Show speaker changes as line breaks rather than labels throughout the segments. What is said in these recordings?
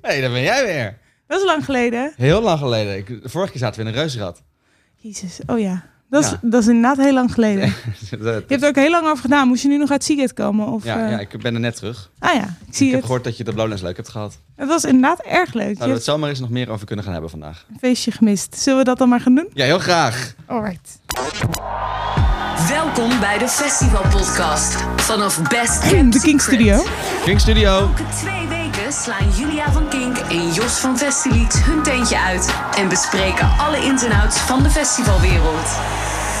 hey, daar ben jij weer.
Dat is lang geleden.
Heel lang geleden. Ik, de vorige keer zaten we in een reuzenrad.
Jezus, oh ja. Dat is,
Ja.
dat is inderdaad heel lang geleden.
Dat- eh,
Je hebt er ook heel lang over gedaan. Moest je nu nog uit Seagate komen? Of,
ja,
eh,
ja, ik ben er net terug.
Ah ja, ik zie
ik heb
het.
gehoord dat je de Blauwlens leuk hebt gehad.
Het was inderdaad erg leuk. Je
Zouden we het
hebt
zomaar eens nog meer over kunnen gaan hebben vandaag?
een feestje gemist. Zullen we dat dan maar gaan doen?
Ja, heel graag.
Alright.
Welkom bij de Festival Podcast vanaf Best
De King Studio.
King Studio.
Elke twee weken slaan Julia van Kink en Jos van Festilied hun tentje uit en bespreken alle ins en outs van de festivalwereld.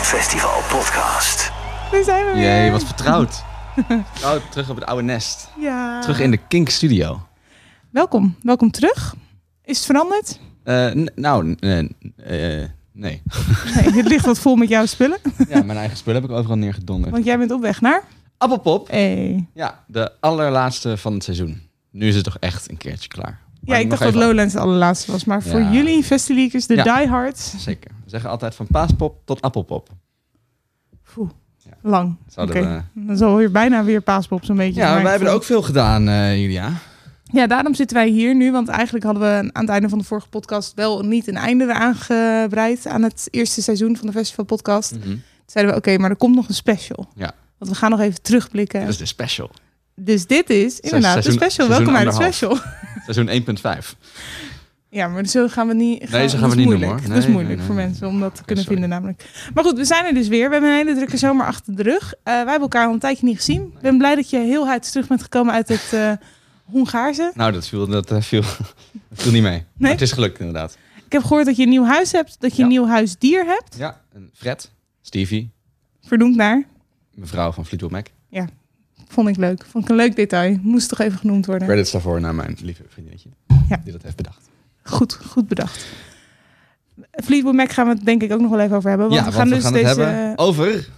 Festival Podcast.
Daar zijn we weer.
Jee, wat vertrouwd. Vertrouwd, terug op het oude nest.
Ja.
Terug in de King Studio.
Welkom. Welkom terug. Is het veranderd?
Eh, n- nou, n- n- eh, nee.
Nee, het ligt wat vol met jouw spullen.
Ja, mijn eigen spullen heb ik overal neergedonderd.
Want jij bent op weg naar...
Appelpop.
Hey.
Ja, de allerlaatste van het seizoen. Nu is het toch echt een keertje klaar.
Ja,
Maar
ik
nog
dacht dat
even-
Lowlands de allerlaatste was. Maar voor
Ja.
jullie, Festileakers, de
Ja.
diehards...
Zeker. We zeggen altijd van paaspop tot appelpop.
Poeh, lang. Oké,
Zouden
dan zal weer bijna weer paaspop zo'n beetje.
Ja,
Maar
wij hebben er
ik
ook veel gedaan, eh, Julia.
vond- Ja, daarom zitten wij hier nu. Want eigenlijk hadden we aan het einde van de vorige podcast wel niet een einde eraan gebreid. Aan het eerste seizoen van de Festival Podcast. Toen zeiden we, oké, maar er komt nog een special.
Hm. Ja.
Want we gaan nog even terugblikken.
Dat
Dus,
is de special.
dit is inderdaad
seizoen-
de special.
seizoen
Welkom bij de
anderhalf.
special.
Seizoen 1.5.
Ja, maar zo gaan we niet.
zo gaan
dat
we
is
niet doen,
moeilijk.
hoor.
dat is
Nee,
moeilijk
nee,
voor
nee.
mensen om dat te kunnen
sorry.
vinden, namelijk. Maar goed, we zijn er dus weer. We hebben een hele drukke zomer achter de rug. Eh, wij hebben elkaar al een tijdje niet gezien. Ik ben blij dat je heel huids terug bent gekomen uit het eh, Hongaarse.
Nou, dat viel, dat, eh, viel, dat viel niet mee. Maar het is gelukt, inderdaad.
Ik heb gehoord dat je een nieuw huis hebt, dat je een
Ja.
nieuw huisdier hebt.
Ja, en Fred, Stevie,
Vernoemd naar.
mevrouw van Fleetwood Mac.
Vond ik leuk. Vond ik een leuk detail. Moest toch even genoemd worden.
Credits daarvoor naar mijn lieve vriendinnetje.
Ja.
Die dat heeft bedacht.
Goed, goed bedacht. Fleetwood Mac gaan we het denk ik ook nog wel even over hebben. Want
ja,
we gaan
want
dus
we gaan
deze
het hebben over...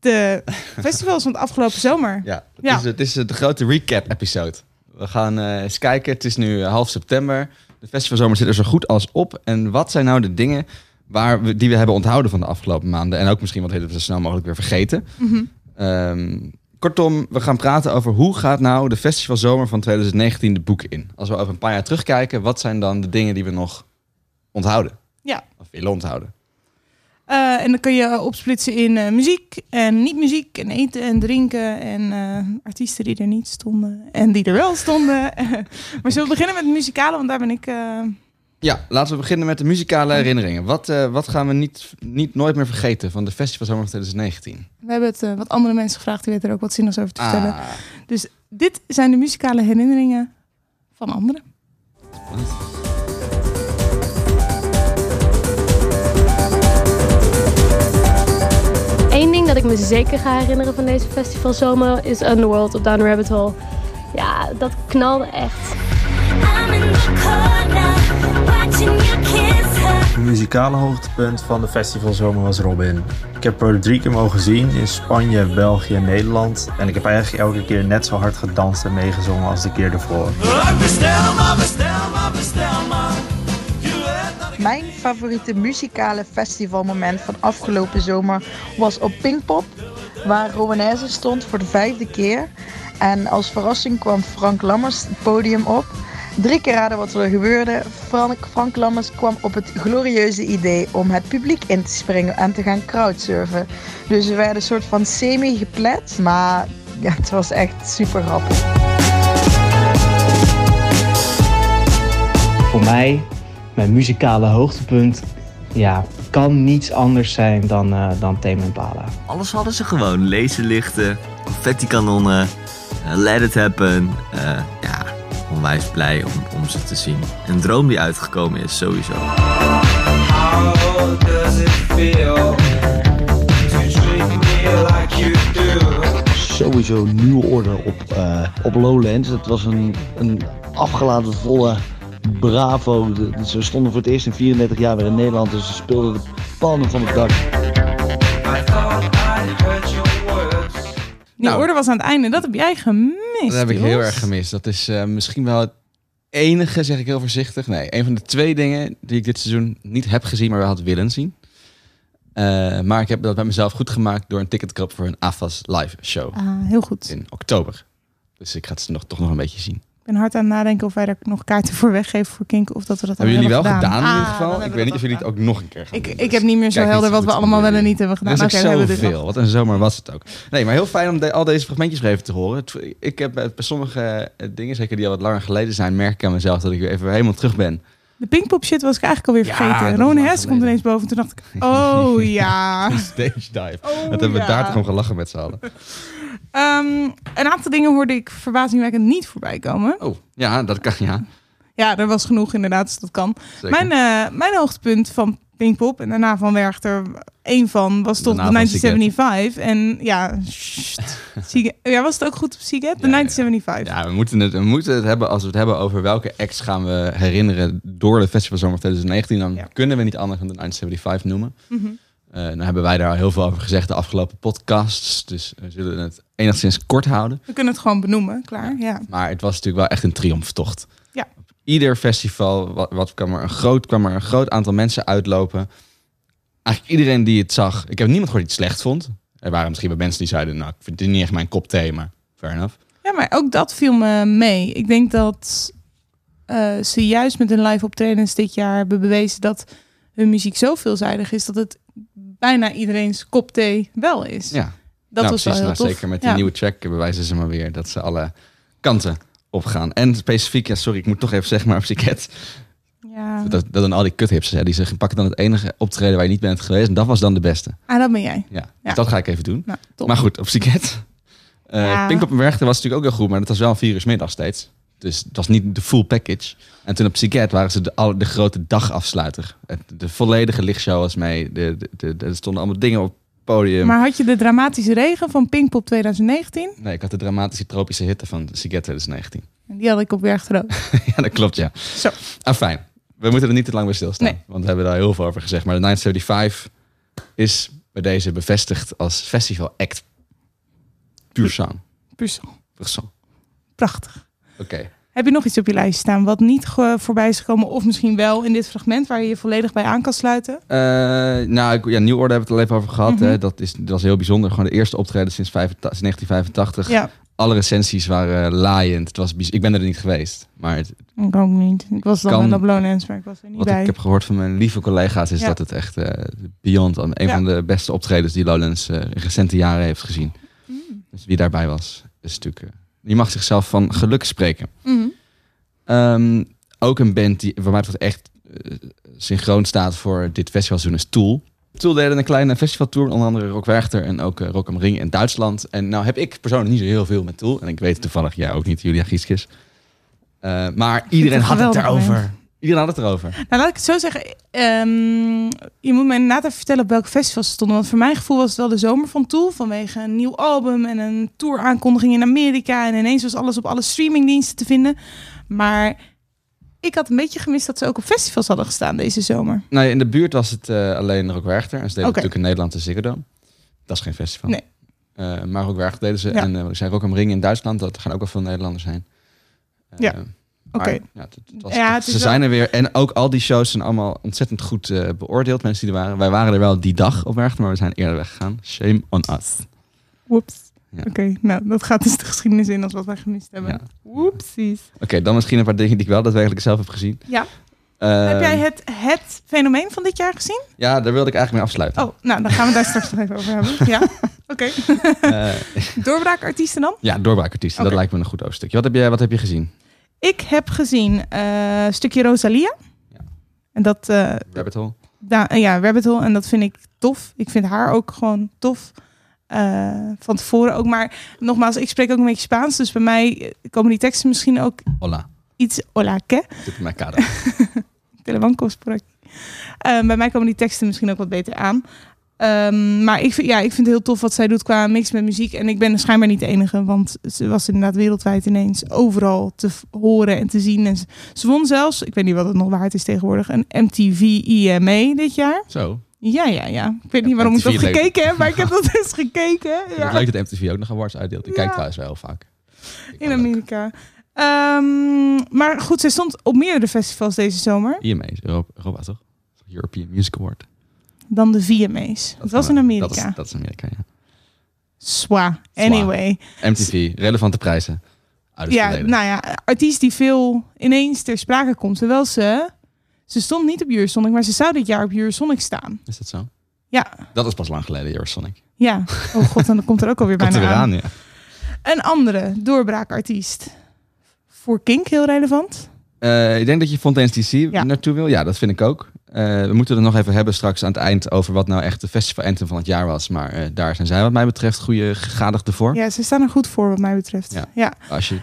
de festivals van de afgelopen zomer.
Ja, het,
Ja.
Is, het is eh, de grote recap-episode. We gaan eh, eens kijken. Het is nu eh, half september. De festivalzomer zit er zo goed als op. En wat zijn nou de dingen waar we, die we hebben onthouden van de afgelopen maanden? En ook misschien wat we zo snel mogelijk weer vergeten.
Mhm.
Ehm, kortom, we gaan praten over hoe gaat nou de festivalzomer van 2019 de boeken in? Als we over een paar jaar terugkijken, wat zijn dan de dingen die we nog onthouden?
Ja.
Of willen onthouden?
Eh, en dan kun je opsplitsen in eh, muziek en niet-muziek en eten en drinken en eh, artiesten die er niet stonden en die er wel stonden. maar zullen we beginnen met het muzikale, want daar ben ik... eh,
Ja, laten we beginnen met de muzikale herinneringen. Wat, eh, wat gaan we niet, niet nooit meer vergeten van de festivalzomer van 2019?
we hebben het eh, wat andere mensen gevraagd, die weten er ook wat zinnigs over te vertellen.
Ah.
Dus dit zijn de muzikale herinneringen van anderen.
Eén ding dat ik me zeker ga herinneren van deze festivalzomer is Underworld op Down the Rabbit Hole. Ja, dat knalde echt.
I'm in the corner, watching you kiss her.
Het muzikale hoogtepunt van de festivalzomer was Robin. Ik heb er drie keer mogen zien in Spanje, België en Nederland. En ik heb eigenlijk elke keer net zo hard gedanst en meegezongen als de keer ervoor.
Mijn favoriete muzikale festivalmoment van afgelopen zomer was op Pinkpop, waar Romanesque stond voor de vijfde keer. En als verrassing kwam Frank Lammers het podium op. Drie keer raden wat er gebeurde. Frank, Frank Lammers kwam op het glorieuze idee om het publiek in te springen en te gaan crowdsurfen. Dus we werden een soort van semi-geplet, maar ja, het was echt super grappig.
Voor mij, mijn muzikale hoogtepunt, ja, kan niets anders zijn dan, eh dan Tame Impala.
Alles hadden ze gewoon. Laserlichten, confettikanonnen, eh, let it happen. Eh, ja, onwijs blij om, om ze te zien. Een droom die uitgekomen is, sowieso.
Sowieso nieuw orde op, eh, op Lowlands. Het was een, een afgeladen volle bravo. ze stonden voor het eerst in 34 jaar weer in Nederland, dus ze speelden de pannen van het dak.
Die
Nou.
orde was aan het einde, dat heb jij gemist.
Dat heb ik heel
Jos.
erg gemist. Dat is eh, misschien wel het enige, zeg ik heel voorzichtig. Nee, een van de twee dingen die ik dit seizoen niet heb gezien, maar wel had willen zien. Eh, maar ik heb dat bij mezelf goed gemaakt door een ticket te kopen voor een AFAS live show
Ah, heel goed.
in oktober. Dus ik ga het nog, toch nog een beetje zien.
ben hard aan het nadenken of wij daar nog kaarten voor weggeven voor Kinken. Of dat we dat al
hebben jullie wel
hebben
gedaan, in
Ah,
ieder
dan
geval.
hebben
Ik
we
weet niet
dat
of jullie het ook nog een keer gaan
Ik,
doen,
ik
dus
heb niet meer zo
kijk niet
helder wat
hoe
we
het
allemaal wel en
jullie-
niet hebben gedaan.
Dat is ook
Oké, we hebben dit
zoveel. Wat een zomer was het ook. Nee, maar heel fijn om de- al deze fragmentjes weer even te horen. Het- Ik heb eh, bij sommige eh, dingen, zeker die al wat langer geleden zijn, merk ik aan mezelf dat ik weer even helemaal terug ben.
De Pinkpop shit was ik eigenlijk alweer
Ja,
vergeten.
dat
Rone
is
Hess komt ineens boven. Toen dacht ik, oh ja.
Stage dive.
Oh,
dat hebben we
ja.
daar toch om gelachen met z'n allen.
Ehm, een aantal dingen hoorde ik verbazingwekkend niet voorbij komen.
Oh, ja, dat kan, ja.
Ja, er was genoeg inderdaad, dus dat kan.
Zeker.
Mijn, eh, mijn hoogtepunt van Pinkpop en daarna van Werchter, één van, was toch
Daarna
de
van
1975. En ja, sst, Seagate- ja, was het ook goed op Seagate? De 1975.
Ja, we moeten, het, we moeten het hebben als we het hebben over welke acts gaan we herinneren door de festivalzomer 2019. Dan kunnen we niet anders dan de 1975 noemen.
Mhm.
Eh, nou hebben wij daar al heel veel over gezegd de afgelopen podcasts. Dus we zullen het enigszins kort houden.
We kunnen het gewoon benoemen, klaar. Ja.
Maar het was natuurlijk wel echt een triomftocht.
Ja.
Op ieder festival wat, wat kwam, er een groot, kwam er een groot aantal mensen uitlopen. Eigenlijk iedereen die het zag. Ik heb niemand gehoord die het slecht vond. Er waren misschien wel mensen die zeiden, nou, ik vind dit niet echt mijn kop thee, maar fair enough.
Ja, maar ook dat viel me mee. Ik denk dat eh, ze juist met hun live optredens dit jaar hebben bewezen dat hun muziek zo veelzijdig is dat het bijna iedereen's kop thee wel is.
Ja.
Dat
Nou,
was wel heel
nou,
tof.
Zeker met die
Ja.
nieuwe track bewijzen ze maar weer dat ze alle kanten opgaan. En specifiek, ja, sorry, ik moet toch even zeggen, maar op Siket.
Ja.
Dat, dat dan al die kuthipsters, hè, die zeggen, pakken dan het enige optreden waar je niet bent geweest. En dat was dan de beste.
Ah, dat ben jij.
Ja,
Ja.
Dus dat ga ik even doen.
Nou, top.
Maar goed, op Siket. Eh
Ja.
Pinkpop en Werchter was natuurlijk ook heel goed, maar dat was wel een vier uur 's middags steeds. Dus het was niet de full package. En toen op Siket waren ze de, alle- de grote dagafsluiter. Het, de volledige lichtshow was mee. De, de, de- de- er stonden allemaal dingen op het podium.
Maar had je de dramatische regen van Pinkpop 2019?
Nee, ik had de dramatische tropische hitte van Siget 2019.
En Die had ik op Berchter ook.
ja, dat klopt, ja.
Zo.
Ah, fijn. We moeten er niet te lang bij stilstaan.
Nee.
Want we hebben daar heel veel over gezegd. Maar de 975 is bij deze bevestigd als festival act. Puur
Hm.
zang.
Persoon.
Puur zang.
Prachtig.
Oké.
Heb je nog iets op je lijst staan wat niet ge- voorbij is gekomen? Of misschien wel in dit fragment waar je je volledig bij aan kan sluiten?
Eh, nou, ik- ja, New Order hebben we het al even over gehad.
Mhm.
hè. Dat, is, dat was heel bijzonder. Gewoon de eerste optreden sinds, 85 sinds 1985.
Ja.
Alle recensies waren laaiend. Het was bijz- ik ben er niet geweest. Maar het,
Ik ook niet. Ik was dan
Kan-
wel op Lowlands, maar ik was er niet
Wat
bij.
ik heb gehoord van mijn lieve collega's is
Ja.
dat het echt eh, beyond een
Ja.
van de beste optredens die Lowlands eh, in recente jaren heeft gezien.
Mm.
Dus wie daarbij was, is natuurlijk. eh, die mag zichzelf van geluk spreken.
Mhm.
Ehm, ook een band die voor mij betreft echt eh, synchroon staat voor dit festivalseizoen is Tool. Tool deden een kleine festivaltour, onder andere Rock Werchter en ook eh, Rock am Ring in Duitsland. En nou heb ik persoonlijk niet zo heel veel met Tool. En ik weet toevallig, jij ook niet, Julia Gieskes. Eh, maar iedereen
het een
had het
geweldig
erover.
moment.
Iedereen had het erover.
Nou, laat ik het zo zeggen. Ehm, je moet mij inderdaad even vertellen op welk festival ze stonden. Want voor mijn gevoel was het wel de zomer van Tool. Vanwege een nieuw album en een touraankondiging in Amerika. En ineens was alles op alle streamingdiensten te vinden. Maar ik had een beetje gemist dat ze ook op festivals hadden gestaan deze zomer.
Nee, in de buurt was het eh, alleen Rock Werchter. En ze deden
Oké.
natuurlijk in Nederland de Ziggo Dome. Dat is geen festival.
Nee.
Eh, maar Rock Werchter deden ze.
Ja.
En eh, wat ik zei Rock am Ring in Duitsland. Dat gaan ook wel veel Nederlanders zijn.
Ja.
maar,
Oké.
ja, het- het was-
Ja, het
ze
is wel-
zijn er weer. En ook al die shows zijn allemaal ontzettend goed eh, beoordeeld. Mensen die er waren. Wij waren er wel die dag op Werchter, maar we zijn eerder weggegaan. Shame on us.
Whoops.
Ja.
Oké, nou dat gaat dus de geschiedenis in als wat wij gemist hebben.
Ja.
Whoopsies.
Oké, dan misschien een paar dingen die ik wel daadwerkelijk zelf heb gezien.
Ja.
Eh,
Heb jij het, het fenomeen van dit jaar gezien?
Ja, daar wilde ik eigenlijk mee afsluiten.
Oh, nou, dan gaan we daar straks nog even over hebben. Ja, oké.
Eh,
Doorbraakartiesten dan?
ja, doorbraakartiesten. Dat
Oké.
lijkt me een goed hoofdstukje. Wat heb je, wat heb je gezien?
Ik heb gezien eh, een stukje Rosalia. En dat, eh,
Rabbit Hole?
da- eh, ja, Rabbit Hole. En dat vind ik tof. Ik vind haar ook gewoon tof. Eh, van tevoren ook. Maar nogmaals, ik spreek ook een beetje Spaans. Dus bij mij eh, komen die teksten misschien ook
Hola.
iets... Hola, que?
Dit is mijn kader.
Telebancos por aquí. Eh, bij mij komen die teksten misschien ook wat beter aan. Ehm, maar ik vind, ja, ik vind het heel tof wat zij doet qua mix met muziek. En ik ben schijnbaar niet de enige, want ze was inderdaad wereldwijd ineens overal te v- horen en te zien. En ze, ze won zelfs, ik weet niet wat het nog waard is tegenwoordig, een MTV IMA dit jaar.
Zo.
Ja, ja, ja. Ik weet niet
Ja,
waarom ik dat
MTV leuk.
gekeken heb, maar ik heb dat eens gekeken.
Ik vind
Ja.
het leuk dat MTV ook nog awards uitdeelt. Ik
Ja.
kijk trouwens wel heel vaak. Ik
In
wel leuk.
Amerika. Ehm, maar goed, zij stond op meerdere festivals deze zomer
IMA is Europa, Europa toch? European Music Award.
dan de VMA's. Dat was in
Dat is,
Amerika.
dat is Amerika, ja.
Swa. Anyway.
MTV, relevante prijzen. Uit het
ja,
verleden.
nou ja, artiest die veel ineens ter sprake komt. Terwijl ze, ze stond niet op Eurosonic, maar ze zou dit jaar op Eurosonic staan.
Is dat zo?
Ja,
Dat is pas lang geleden, Eurosonic.
ja. Oh god, en dan komt er ook alweer
Komt
bijna
er weer
aan.
aan, ja.
Een andere doorbraakartiest. Voor Kink heel relevant.
Eh, ik denk dat je Fontaine's DC
Ja.
naartoe wil. Ja, dat vind ik ook. Eh, we moeten er nog even hebben straks aan het eind over wat nou echt de festival anthem van het jaar was. Maar eh, daar zijn zij wat mij betreft goede gegadigden voor.
Ja, ze staan er goed voor wat mij betreft.
Ja.
Ja.
Als je,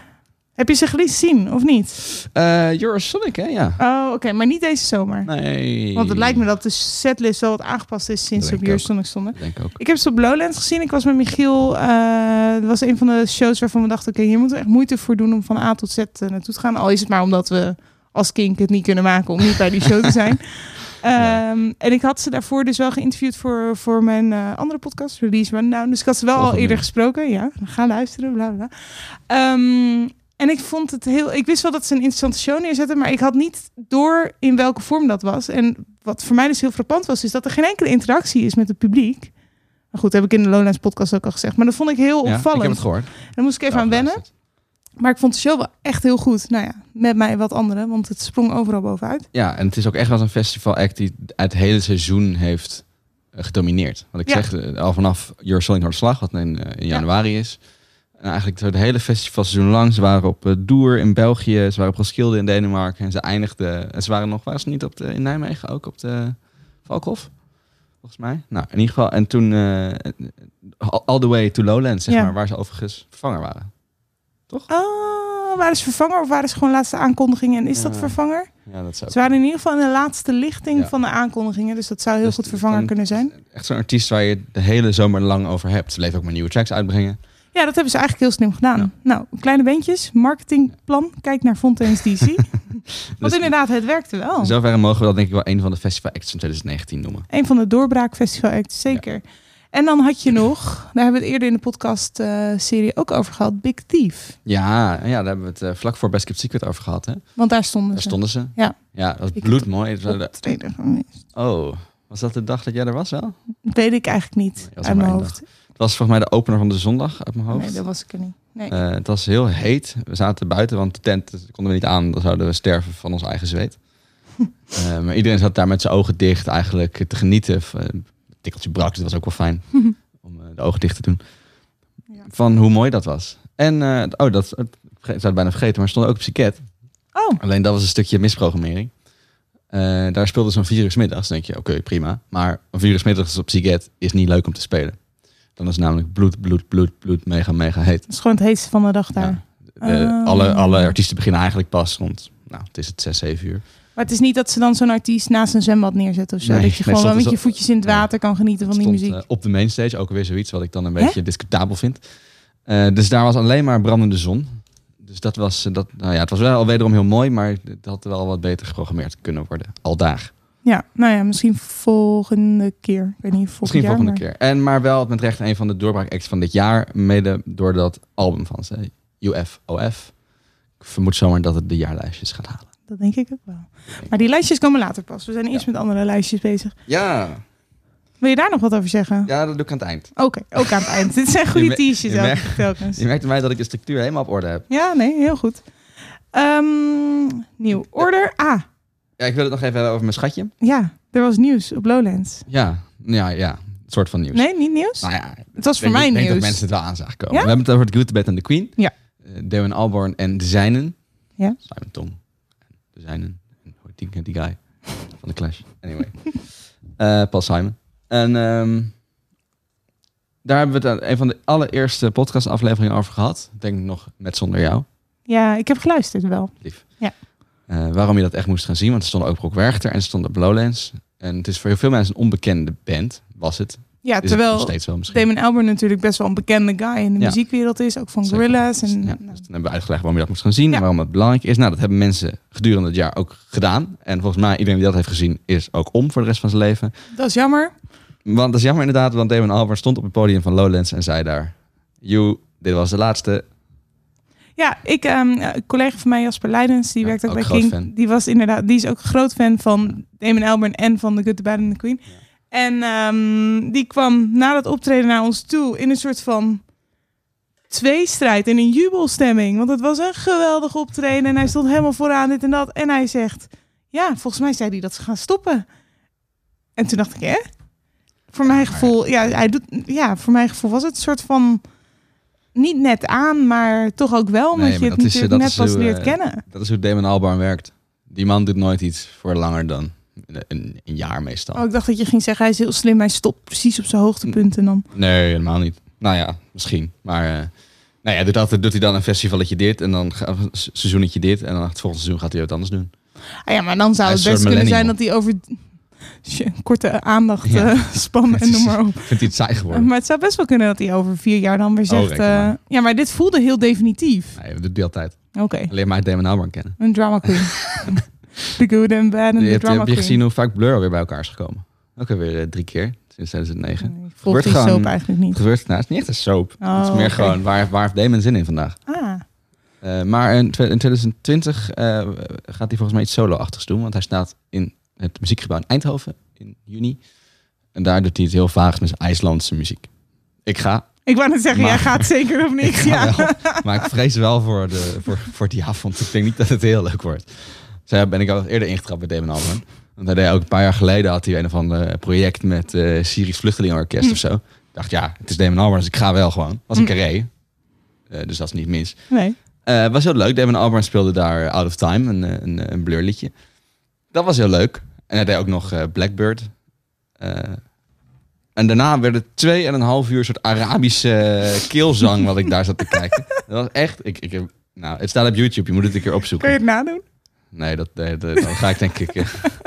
Heb je ze gezien of niet?
Eh, Eurosonic, hè? Ja.
Oh, oké, maar niet deze zomer.
Nee.
Want het lijkt me dat de setlist wel wat aangepast is sinds
Dat
ze
denk
op
ik ook.
Eurosonic stonden.
Denk ik ook.
Ik heb ze op Lowlands gezien. Ik was met Michiel. eh, dat was een van de shows waarvan we dachten... oké, hier moeten we echt moeite voor doen om van A tot Z eh, naartoe te gaan. Al is het maar omdat we als kink het niet kunnen maken om niet bij die show te zijn. Ehm, En ik had ze daarvoor dus wel geïnterviewd voor, voor mijn eh, andere podcast, Release Rundown. Dus ik had ze wel al
Volgende.
eerder gesproken. Ja, ga luisteren, bla bla. Ehm, en ik vond het heel... Ik wist wel dat ze een interessante show neerzetten, maar ik had niet door in welke vorm dat was. En wat voor mij dus heel frappant was, is dat er geen enkele interactie is met het publiek. Maar goed, heb ik in de Lowlands podcast ook al gezegd. Maar dat vond ik heel
Ja, ik
opvallend.
heb het gehoord.
En daar moest ik even aan wennen. Maar ik vond de show wel echt heel goed. Nou ja, met mij en wat anderen, want het sprong overal bovenuit.
Ja, en het is ook echt wel een festivalact die het hele seizoen heeft eh, gedomineerd. Wat ik
Ja.
zeg, eh, al vanaf Eurosonic Noorderslag, wat in, eh, in januari is. En eigenlijk zo het hele festivalseizoen lang. Ze waren op eh, Doer in België, ze waren op Roskilde in Denemarken. En ze eindigden, en ze waren nog, waren ze niet op de, in Nijmegen ook op de Valkhof? Volgens mij. Nou, in ieder geval. En toen eh, all the way to Lowlands, zeg
Ja.
maar, waar ze overigens vervanger waren.
Oh, waren ze vervanger of waren ze gewoon laatste aankondigingen? En is dat
Ja.
vervanger?
Ja, dat zou
Ze waren in ieder geval in de laatste lichting
Ja.
van de aankondigingen. Dus dat zou heel
Dus
goed
die-
vervanger
dan-
kunnen zijn.
echt zo'n artiest waar je de hele zomer lang over hebt. Ze bleef ook maar nieuwe tracks uitbrengen.
Ja, dat hebben ze eigenlijk heel slim gedaan.
Ja.
Nou, kleine bandjes, marketingplan. Kijk naar Fontaine's DC. Want
Dus-
inderdaad, het werkte
In
wel.
zoverre mogen we dat denk ik wel een van de festival acts van 2019 noemen.
Een van de doorbraakfestival acts, zeker. En dan had je nog, daar hebben we het eerder in de podcast eh, serie ook over gehad, Big Thief.
Ja, ja daar hebben we het eh, vlak voor Best Kept Secret over gehad. Hè?
Want daar stonden
Daar
ze.
stonden ze.
Ja.
Ja, dat was
Ik-
bloedmooi. Het was-
Optreden gemist.
Oh, was dat de dag dat jij er was wel?
Dat weet ik eigenlijk niet uit
was maar
mijn
één
hoofd.
Het was volgens mij de opener van de zondag uit mijn hoofd.
Nee, dat was ik er niet. Nee.
Eh, het was heel heet. We zaten buiten, want de tent eh, konden we niet aan. Dan zouden we sterven van ons eigen zweet. Eh, maar iedereen zat daar met zijn ogen dicht eigenlijk te genieten. Eh, Een tikkeltje brak, dus dat was ook wel fijn. om eh, de ogen dicht te doen.
Ja.
Van hoe mooi dat was. En, eh, oh, dat, ik zou het bijna vergeten, maar er stond ook Psyket.
Oh.
Alleen dat was een stukje misprogrammering. Eh, daar speelde zo'n virus middags. Dan denk je, oké, prima. Maar een virus middags op Psyket is niet leuk om te spelen. Dan is het namelijk bloed, bloed, bloed, bloed, mega, mega heet.
Dat is gewoon het heetste van de dag daar.
Ja. De-
Ah.
alle, alle artiesten beginnen eigenlijk pas rond, nou, het is het 6, 7 uur.
Maar het is niet dat ze dan zo'n artiest naast een zwembad neerzet of zo.
Nee,
dat je
nee,
gewoon wel
stond
met je
dus-
voetjes in het
nee.
water kan genieten van
Het
die
stond
muziek.
eh, op de mainstage, ook weer zoiets wat ik dan een
Hè?
beetje discutabel vind. Eh, dus daar was alleen maar brandende zon. Dus dat was, eh, dat, nou ja, het was wel al wederom heel mooi, maar het had wel wat beter geprogrammeerd kunnen worden. Al daag.
Ja, nou ja, misschien volgende keer. Ik weet niet, volgend
Misschien
jaar,
volgende
maar-
keer. En maar wel met recht een van de doorbraakacts van dit jaar, mede door dat album van ze, UFOF. Ik vermoed zomaar dat het de jaarlijstjes gaat halen.
Dat denk ik ook wel. Maar die lijstjes komen later pas. We zijn eerst met andere lijstjes bezig.
Ja,
Wil je daar nog wat over zeggen?
ja dat doe ik aan het eind.
Oké, ook aan het eind. Dit zijn
Je
goede
me-
t-shirts
je
ook,
merkt-
telkens.
Je merkte mij dat ik de structuur helemaal op orde heb.
Ja, nee, heel goed. Ehm, nieuw order. Ah,
Ja, ik wil het nog even hebben over mijn schatje.
ja, er was nieuws op Lowlands.
Ja, ja, ja. Een soort van nieuws.
Nee, niet nieuws?
Nou ja,
het was voor
ik denk,
mij
ik denk dat
nieuws.
mensen het wel aan zagen komen.
Ja?
We hebben het over het Good, the Bad and the Queen.
Ja.
Eh, Damon Albarn en De Zijnen.
Ja.
Simon Tom. En De Zijnen. En hoe heet die, die guy van de Clash. Anyway. Eh, Paul Simon. En ehm, daar hebben we het aan een van de allereerste podcastafleveringen over gehad. Ik Denk nog met zonder jou.
Ja, ik heb geluisterd wel.
Lief.
Ja.
Eh, waarom je dat echt moest gaan zien, want er stonden ook Brock Werchter en er stonden Blowlands. En het is voor heel veel mensen een onbekende band, was het.
Ja,
Is het nog
terwijl
steeds wel misschien.
Damon Albarn natuurlijk best wel een bekende guy in de
Ja.
muziekwereld is. Ook van
Zeker.
Gorillaz. En, nou,
Ja, dus dan hebben we uitgelegd waarom je dat moet gaan zien en
Ja.
waarom dat belangrijk is. Nou, dat hebben mensen gedurende het jaar ook gedaan. En volgens mij, iedereen die dat heeft gezien, is ook om voor de rest van zijn leven.
Dat is jammer.
Want dat is jammer inderdaad, want Damon Albarn stond op het podium van Lowlands en zei daar... You, dit was de laatste.
Ja, ik, ehm, een collega van mij, Jasper Leidens, die
Ja,
werkt ook,
ook
bij
groot
King.
fan.
Die was inderdaad, die is ook groot fan van Damon Albarn en van The Good, The Bad and The Queen. En ehm, die kwam na dat optreden naar ons toe in een soort van tweestrijd in een jubelstemming. Want het was een geweldig optreden en hij stond helemaal vooraan dit en dat. En hij zegt, ja, volgens mij zei hij dat ze gaan stoppen. En toen dacht ik, hè? Voor mijn gevoel, ja, hij doet, ja, voor mijn gevoel was het een soort van niet net aan, maar toch ook wel, omdat
Nee,
je
maar
het
dat is, eh,
natuurlijk
dat
net
is
pas
hoe,
leert
eh,
kennen.
Dat is hoe Damon Albarn werkt. Die man doet nooit iets voor langer dan een, een, een jaar meestal.
Oh, ik dacht dat je ging zeggen, hij is heel slim, hij stopt precies op zijn hoogtepunt en dan...
Nee, helemaal niet. Nou ja, misschien. Maar eh, nou ja, doet, altijd, doet hij dan een festivalletje dit en dan ga- een seizoenetje dit. En dan het volgende seizoen gaat hij wat anders doen.
Ah ja, maar dan zou
Hij
het
is een
best
soort
kunnen zijn
millennial.
dat hij over Tje, korte aandacht eh,
Ja.
spannen en noem maar op.
Vindt hij het saai geworden?
Maar het zou best wel kunnen dat hij over vier jaar dan weer zegt...
reken maar.
eh, ja, maar dit voelde heel definitief.
Nee, dat doet hij altijd.
Oké,
Alleen maar Damon Albarn kennen.
een drama queen. the good and bad and
Je
the
hebt, eh,
drama
heb je
queen.
gezien hoe vaak Blur weer bij elkaar is gekomen? Ook alweer eh, drie keer sinds 2009.
Ik volg die soap eigenlijk niet.
Gebeurt, nou, het is niet echt een soap.
Oh,
het is meer
oké.
gewoon, waar, waar heeft Damon zin in vandaag?
Ah,
Eh, maar in, twe- in 2020 eh, gaat hij volgens mij iets solo-achtigs doen. Want hij staat in het muziekgebouw in Eindhoven in juni. En daar doet hij het heel vaag met zijn IJslandse muziek. Ik ga,
ik wou net zeggen,
Maar-
jij gaat zeker of niks.
ga
ja.
wel. maar ik vrees wel voor, de, voor, voor die avond. Ik denk niet dat het heel leuk wordt. Zo ben ik al eerder ingetrapt bij Damon Albarn. Want hij deed ook een paar jaar geleden had hij een of ander project met eh Syrisch Vluchtelingenorkest of zo. Ik dacht, ja, het is Damon Albarn, dus ik ga wel gewoon. Was een
Hm.
carré. Eh, dus dat is niet mis.
Nee.
Eh, was heel leuk. Damon Albarn speelde daar Out of Time, een, eh, een, eh, een blur liedje. Dat was heel leuk. En hij deed ook nog eh, Blackbird. Eh, en daarna werden het twee en een half uur soort Arabische eh, keelzang wat ik daar zat te kijken. Dat was echt... Ik, ik, heb- nou, het staat op YouTube. Je moet het een keer
Kun je
opzoeken.
het nadoen?
Nee, dat, nee, dat, dan ga ik denk ik... eh,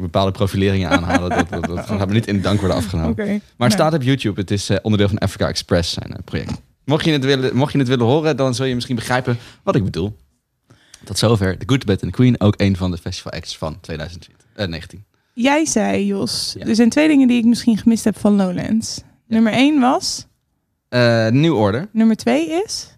bepaalde profileringen aanhalen. Dat, dat, dat gaat me niet in dank worden afgenomen.
Oké.
Oh. Maar het
Nou,
staat op YouTube. Het is eh, onderdeel van Africa Express, zijn eh, project. Mocht je, het willen, mocht je het willen horen, dan zul je misschien begrijpen wat ik bedoel. Tot zover. The Good, The Bad and The Queen. Ook een van de festival acts van eh, 2019.
Jij zei, Jos,
Ja.
er zijn twee dingen die ik misschien gemist heb van Lowlands. Nummer één was,
Eh New Order.
nummer twee is...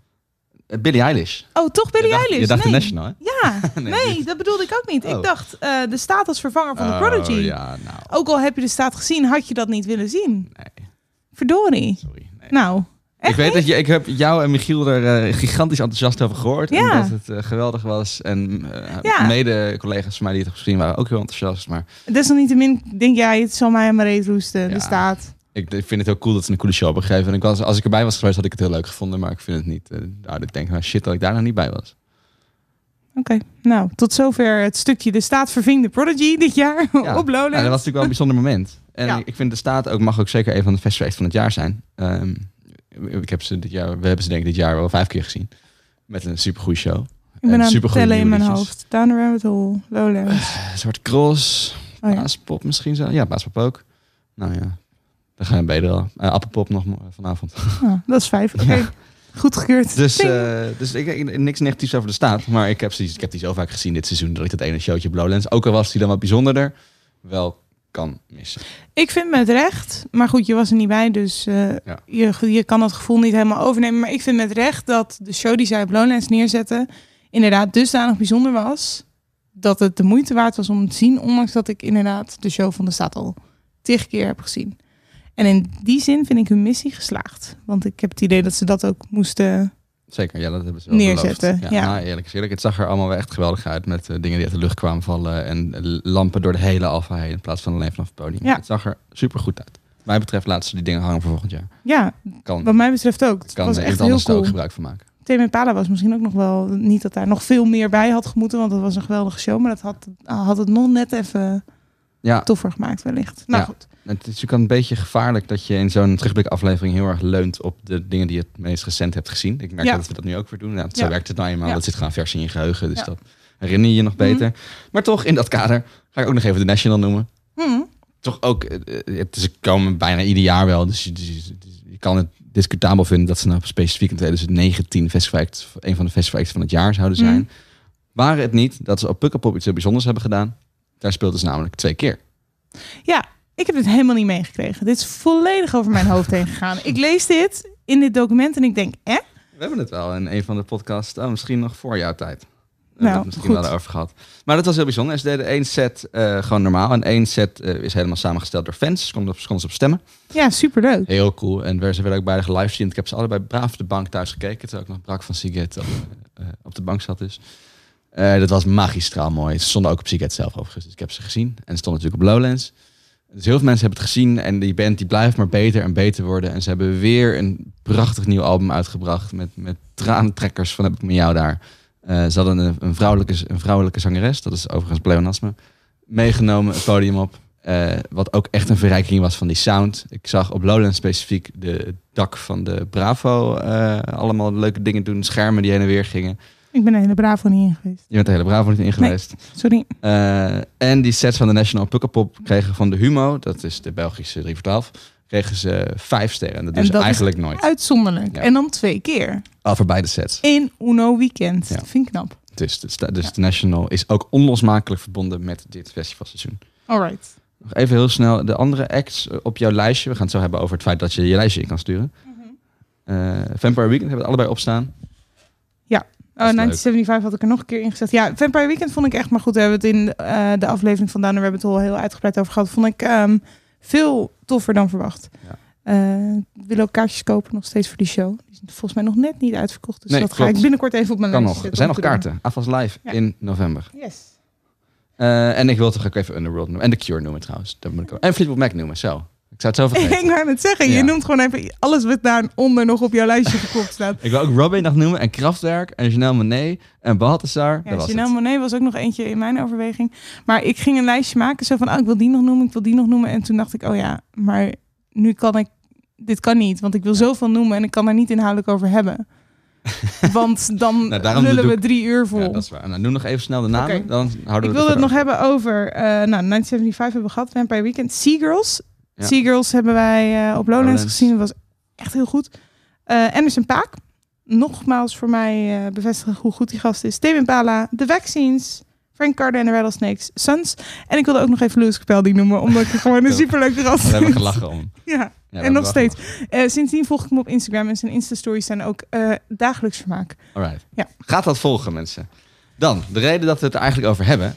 Eh, Billie Eilish.
Oh, toch Billie
je dacht,
Eilish?
Je dacht
nee.
The National, hè?
Ja, nee,
Nee,
dat bedoelde ik ook niet.
Oh.
Ik dacht, eh, de staat als vervanger van de Prodigy.
Oh, ja, nou,
Ook al heb je de staat gezien, had je dat niet willen zien.
nee.
Verdorie.
Sorry. nee.
Nou, echt
ik weet
niet?
dat je, ik heb jou en Michiel er eh, gigantisch enthousiast over gehoord.
Ja.
En dat het eh, geweldig was. En eh,
Ja.
mede-collega's van mij die het gezien waren ook heel enthousiast. Maar
Desalniettemin denk jij, het zal mij aan mijn reet roesten, de
Ja.
staat.
Ik ik vind het heel cool dat ze een coole show hebben gegeven. En ik was, als ik erbij was geweest, had ik het heel leuk gevonden. Maar ik vind het niet... eh, nou, ik denk, nou, shit, dat ik daar nog niet bij was.
Oké, nou, tot zover het stukje de staat verving de Prodigy dit jaar
Ja.
op Lowlands.
Ja, dat was natuurlijk wel een bijzonder moment. En
Oh, Ja.
ik, ik vind de staat ook, mag ook zeker een van de festivals van het jaar zijn. Ehm, ik heb ze dit jaar, we hebben ze denk ik dit jaar wel vijf keer gezien. Met een supergoeie show.
ik ben
en
aan het
supergoeie
tellen in
nieuwe
mijn
liedjes.
hoofd. Down the Rabbit Hole, Lowlands.
Een soort Eh, cross,
Oh ja.
baaspop misschien zo. Ja, baaspop ook. Nou ja, dan gaan we beter al. Eh, appelpop nog mo- vanavond.
Ah, dat is vijf. Oké,
Ja.
goedgekeurd.
Dus,
Ting.
eh, dus ik, ik- niks negatiefs over de staat. Maar ik heb, ze- ik heb die zo vaak gezien dit seizoen dat ik dat ene showtje op Lowlands, ook al was die dan wat bijzonderder, wel kan missen.
Ik vind met recht, maar goed, je was er niet bij, dus eh,
Ja.
je, je kan dat gevoel niet helemaal overnemen. Maar ik vind met recht dat de show die zij op Lowlands neerzetten, inderdaad dusdanig bijzonder was. Dat het de moeite waard was om het te zien, ondanks dat ik inderdaad de show van de stad al tig keer heb gezien. En in die zin vind ik hun missie geslaagd. Want ik heb het idee dat ze dat ook moesten.
Zeker, ja, dat hebben ze wel
Neerzetten,
beloofd.
ja.
nou, eerlijk is eerlijk. Het zag er allemaal wel echt geweldig uit met eh, dingen die uit de lucht kwamen vallen en lampen door de hele Alfa heen in plaats van alleen vanaf het podium.
Ja.
Het zag er super goed uit. Wat mij betreft laten ze die dingen hangen voor volgend jaar.
Ja,
Kan,
wat mij betreft ook. Het
kan
was
iemand
echt heel
anders daar
cool.
ook gebruik van maken.
Tame Pala was misschien ook nog wel niet dat daar nog veel meer bij had gemoeten, want dat was een geweldige show. Maar dat had, had het nog net even
Ja,
toffer gemaakt wellicht. Nou
Ja.
goed.
Het is ook een beetje gevaarlijk dat je in zo'n terugblikaflevering heel erg leunt op de dingen die je het meest recent hebt gezien. Ik merk
Ja.
dat we dat nu ook weer doen. Nou, zo
Ja.
werkt het nou eenmaal.
Ja.
Dat zit gewoon vers in je geheugen, dus
Ja. Mhm.
dat herinner je je nog beter. Maar toch, in dat kader ga ik ook nog even de National noemen.
Hm.
Toch ook, eh, eh, het- ze komen bijna ieder jaar wel, dus je, dus je- dus je kan het discutabel vinden dat ze nou specifiek in 2019 Festival Act, een van de Festival Acts van het jaar zouden zijn.
Mhm.
Waren het niet dat ze op Pukkelpop iets heel bijzonders hebben gedaan. Daar speelden ze namelijk twee keer.
Ik heb dit helemaal niet meegekregen. Dit is volledig over mijn hoofd heen gegaan. Ik lees dit in dit document en ik denk, eh?
We hebben het wel in een van de podcasts, oh, misschien nog eh, voor jouw tijd. hebben we
Nou,
het misschien wel
goed.
over gehad. Maar dat was heel bijzonder. En ze deden één set eh, gewoon normaal. En één set eh, is helemaal samengesteld door fans. Ze konden op, konden ze op stemmen.
Ja, superleuk.
Heel cool. En werden- ze werden ook beide gelivestreamd. Ik heb ze allebei braaf op de bank thuis gekeken. Terwijl ik nog brak van Siget op, eh, op de bank zat dus. Eh, dat was magistraal mooi. Ze stonden ook op Siget zelf overigens. Dus ik heb ze gezien. En ze stonden natuurlijk op Lowlands. Dus heel veel mensen hebben het gezien. En die band die blijft maar beter en beter worden. En ze hebben weer een prachtig nieuw album uitgebracht. Met, met traantrekkers van heb ik met jou daar. Eh, ze hadden een, een, vrouwelijke, een vrouwelijke zangeres. Dat is overigens pleonasme meegenomen het podium op. Eh, wat ook echt een verrijking was van die sound. Ik zag op Lowlands specifiek de het dak van de Bravo eh, allemaal leuke dingen doen. Schermen die heen en weer gingen.
Ik ben een hele bravo niet in geweest.
Je bent de hele Bravo niet in geweest.
Sorry.
Eh, en die sets van de National Pukkelpop kregen van de Humo. Dat is de Belgische 3 voor 12. Kregen ze vijf sterren. En dat
En
doen ze
dat is
eigenlijk nooit.
Uitzonderlijk.
Ja.
En dan twee keer.
Al voor beide sets.
In Uno Weekend.
Ja.
Dat vind ik knap.
Dus, dus, dus de National is ook onlosmakelijk verbonden met dit festivalseizoen.
Alright.
Nog even heel snel de andere acts eh, op jouw lijstje. We gaan het zo hebben over het feit dat je je lijstje in kan sturen.
Mhm.
Eh, Vampire Weekend hebben we het allebei opstaan.
Oh,
is leuk.
1975 had ik er nog een keer in gezet. Ja, Vampire Weekend vond ik echt, maar goed, daar hebben we het in eh, de aflevering van Down the Rabbit Hole heel uitgebreid over gehad. Vond ik ehm, veel toffer dan verwacht.
Ja.
Eh, ik wil ook kaartjes kopen nog steeds voor die show. Die zijn volgens mij nog net niet uitverkocht. Dus
Nee,
dat ga
klopt.
ik binnenkort even op mijn
Kan
lijstje
nog. Er
zetten om
zijn nog
te doen.
kaarten. Afas Live
Ja.
in november.
Yes.
Eh, en ik wil toch ook even Underworld noemen. En The Cure noemen trouwens. Dat moet ik ook. En Fleetwood Mac noemen. Zo. Ik zou het zo
ik
vergeten.
wou het zeggen,
Ja.
je noemt gewoon even alles wat daaronder nog op jouw lijstje geklopt staat.
ik wil ook Robin nog noemen. En Kraftwerk. En Janelle Monet. En Balthazar. dat
Ja,
was
Janelle
het.
Monet was ook nog eentje in mijn overweging. Maar ik ging een lijstje maken, zo van, oh, ik wil die nog noemen, ik wil die nog noemen. En toen dacht ik, oh ja, maar nu kan ik, dit kan niet, want ik wil zoveel noemen en ik kan daar niet inhoudelijk over hebben. Want dan
Nou, daarom
lullen
doe
we
ik-
drie uur vol.
Ja, dat is waar. Nou, noem nog even snel de namen.
Oké.
Dan houden
ik
we
wilde het nog
verder
hebben over, eh nou, 1975 hebben we gehad, Vampire Weekend. Seagirls.
Ja.
Seagirls hebben wij eh, op Lowlands
Lowlands.
gezien. Dat was echt heel goed. Eh Anderson Paak. Nogmaals voor mij eh, bevestigen hoe goed die gast is. Steven Pala. The Vaccines. Frank Carter en de Rattlesnakes. Suns. En ik wilde ook nog even Louis Capaldi noemen, omdat ik het gewoon een
Ja.
superleuke gast
over. We hebben
vind.
gelachen om.
Ja.
Ja,
en nog
we hebben
steeds. Eh, sindsdien volg ik hem op Instagram en zijn Insta-stories zijn ook eh, dagelijks vermaak.
Alright.
Ja.
Gaat dat volgen, mensen? Dan, de reden dat we het er eigenlijk over hebben...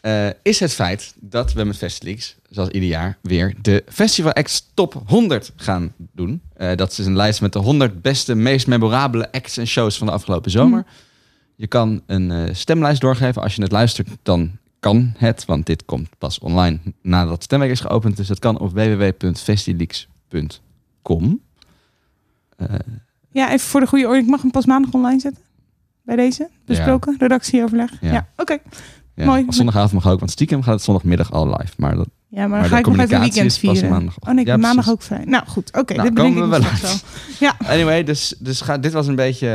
eh, is het feit dat we met Festileaks, zoals ieder jaar, weer de Festival Acts Top 100 gaan doen. Eh, dat is een lijst met de 100 beste, meest memorabele acts en shows van de afgelopen zomer. Je kan een eh, stemlijst doorgeven. Als je het luistert, dan kan het, want dit komt pas online nadat het stemwerk is geopend. Dus dat kan op www.festileaks.com. Eh,
Ja, even voor de goede orde. Ik mag hem pas maandag online zetten. Bij deze. Besproken. Redactieoverleg.
Ja.
Ja, oké.
Ja,
Mooi.
op Zondagavond mag ook, want stiekem gaat het zondagmiddag al live. Maar dat,
Ja, maar dan
Maar de
ga ik nog even
communicatie
weekend
is pas
vieren.
maandag.
Oh nee, ik
Ja,
ben maandag
precies.
ook vrij. Nou goed, oké.
Nou,
dit bedenk ik
komen we
me
wel
straks
uit.
wel. Ja,
anyway, dus, dus ga, dit was een beetje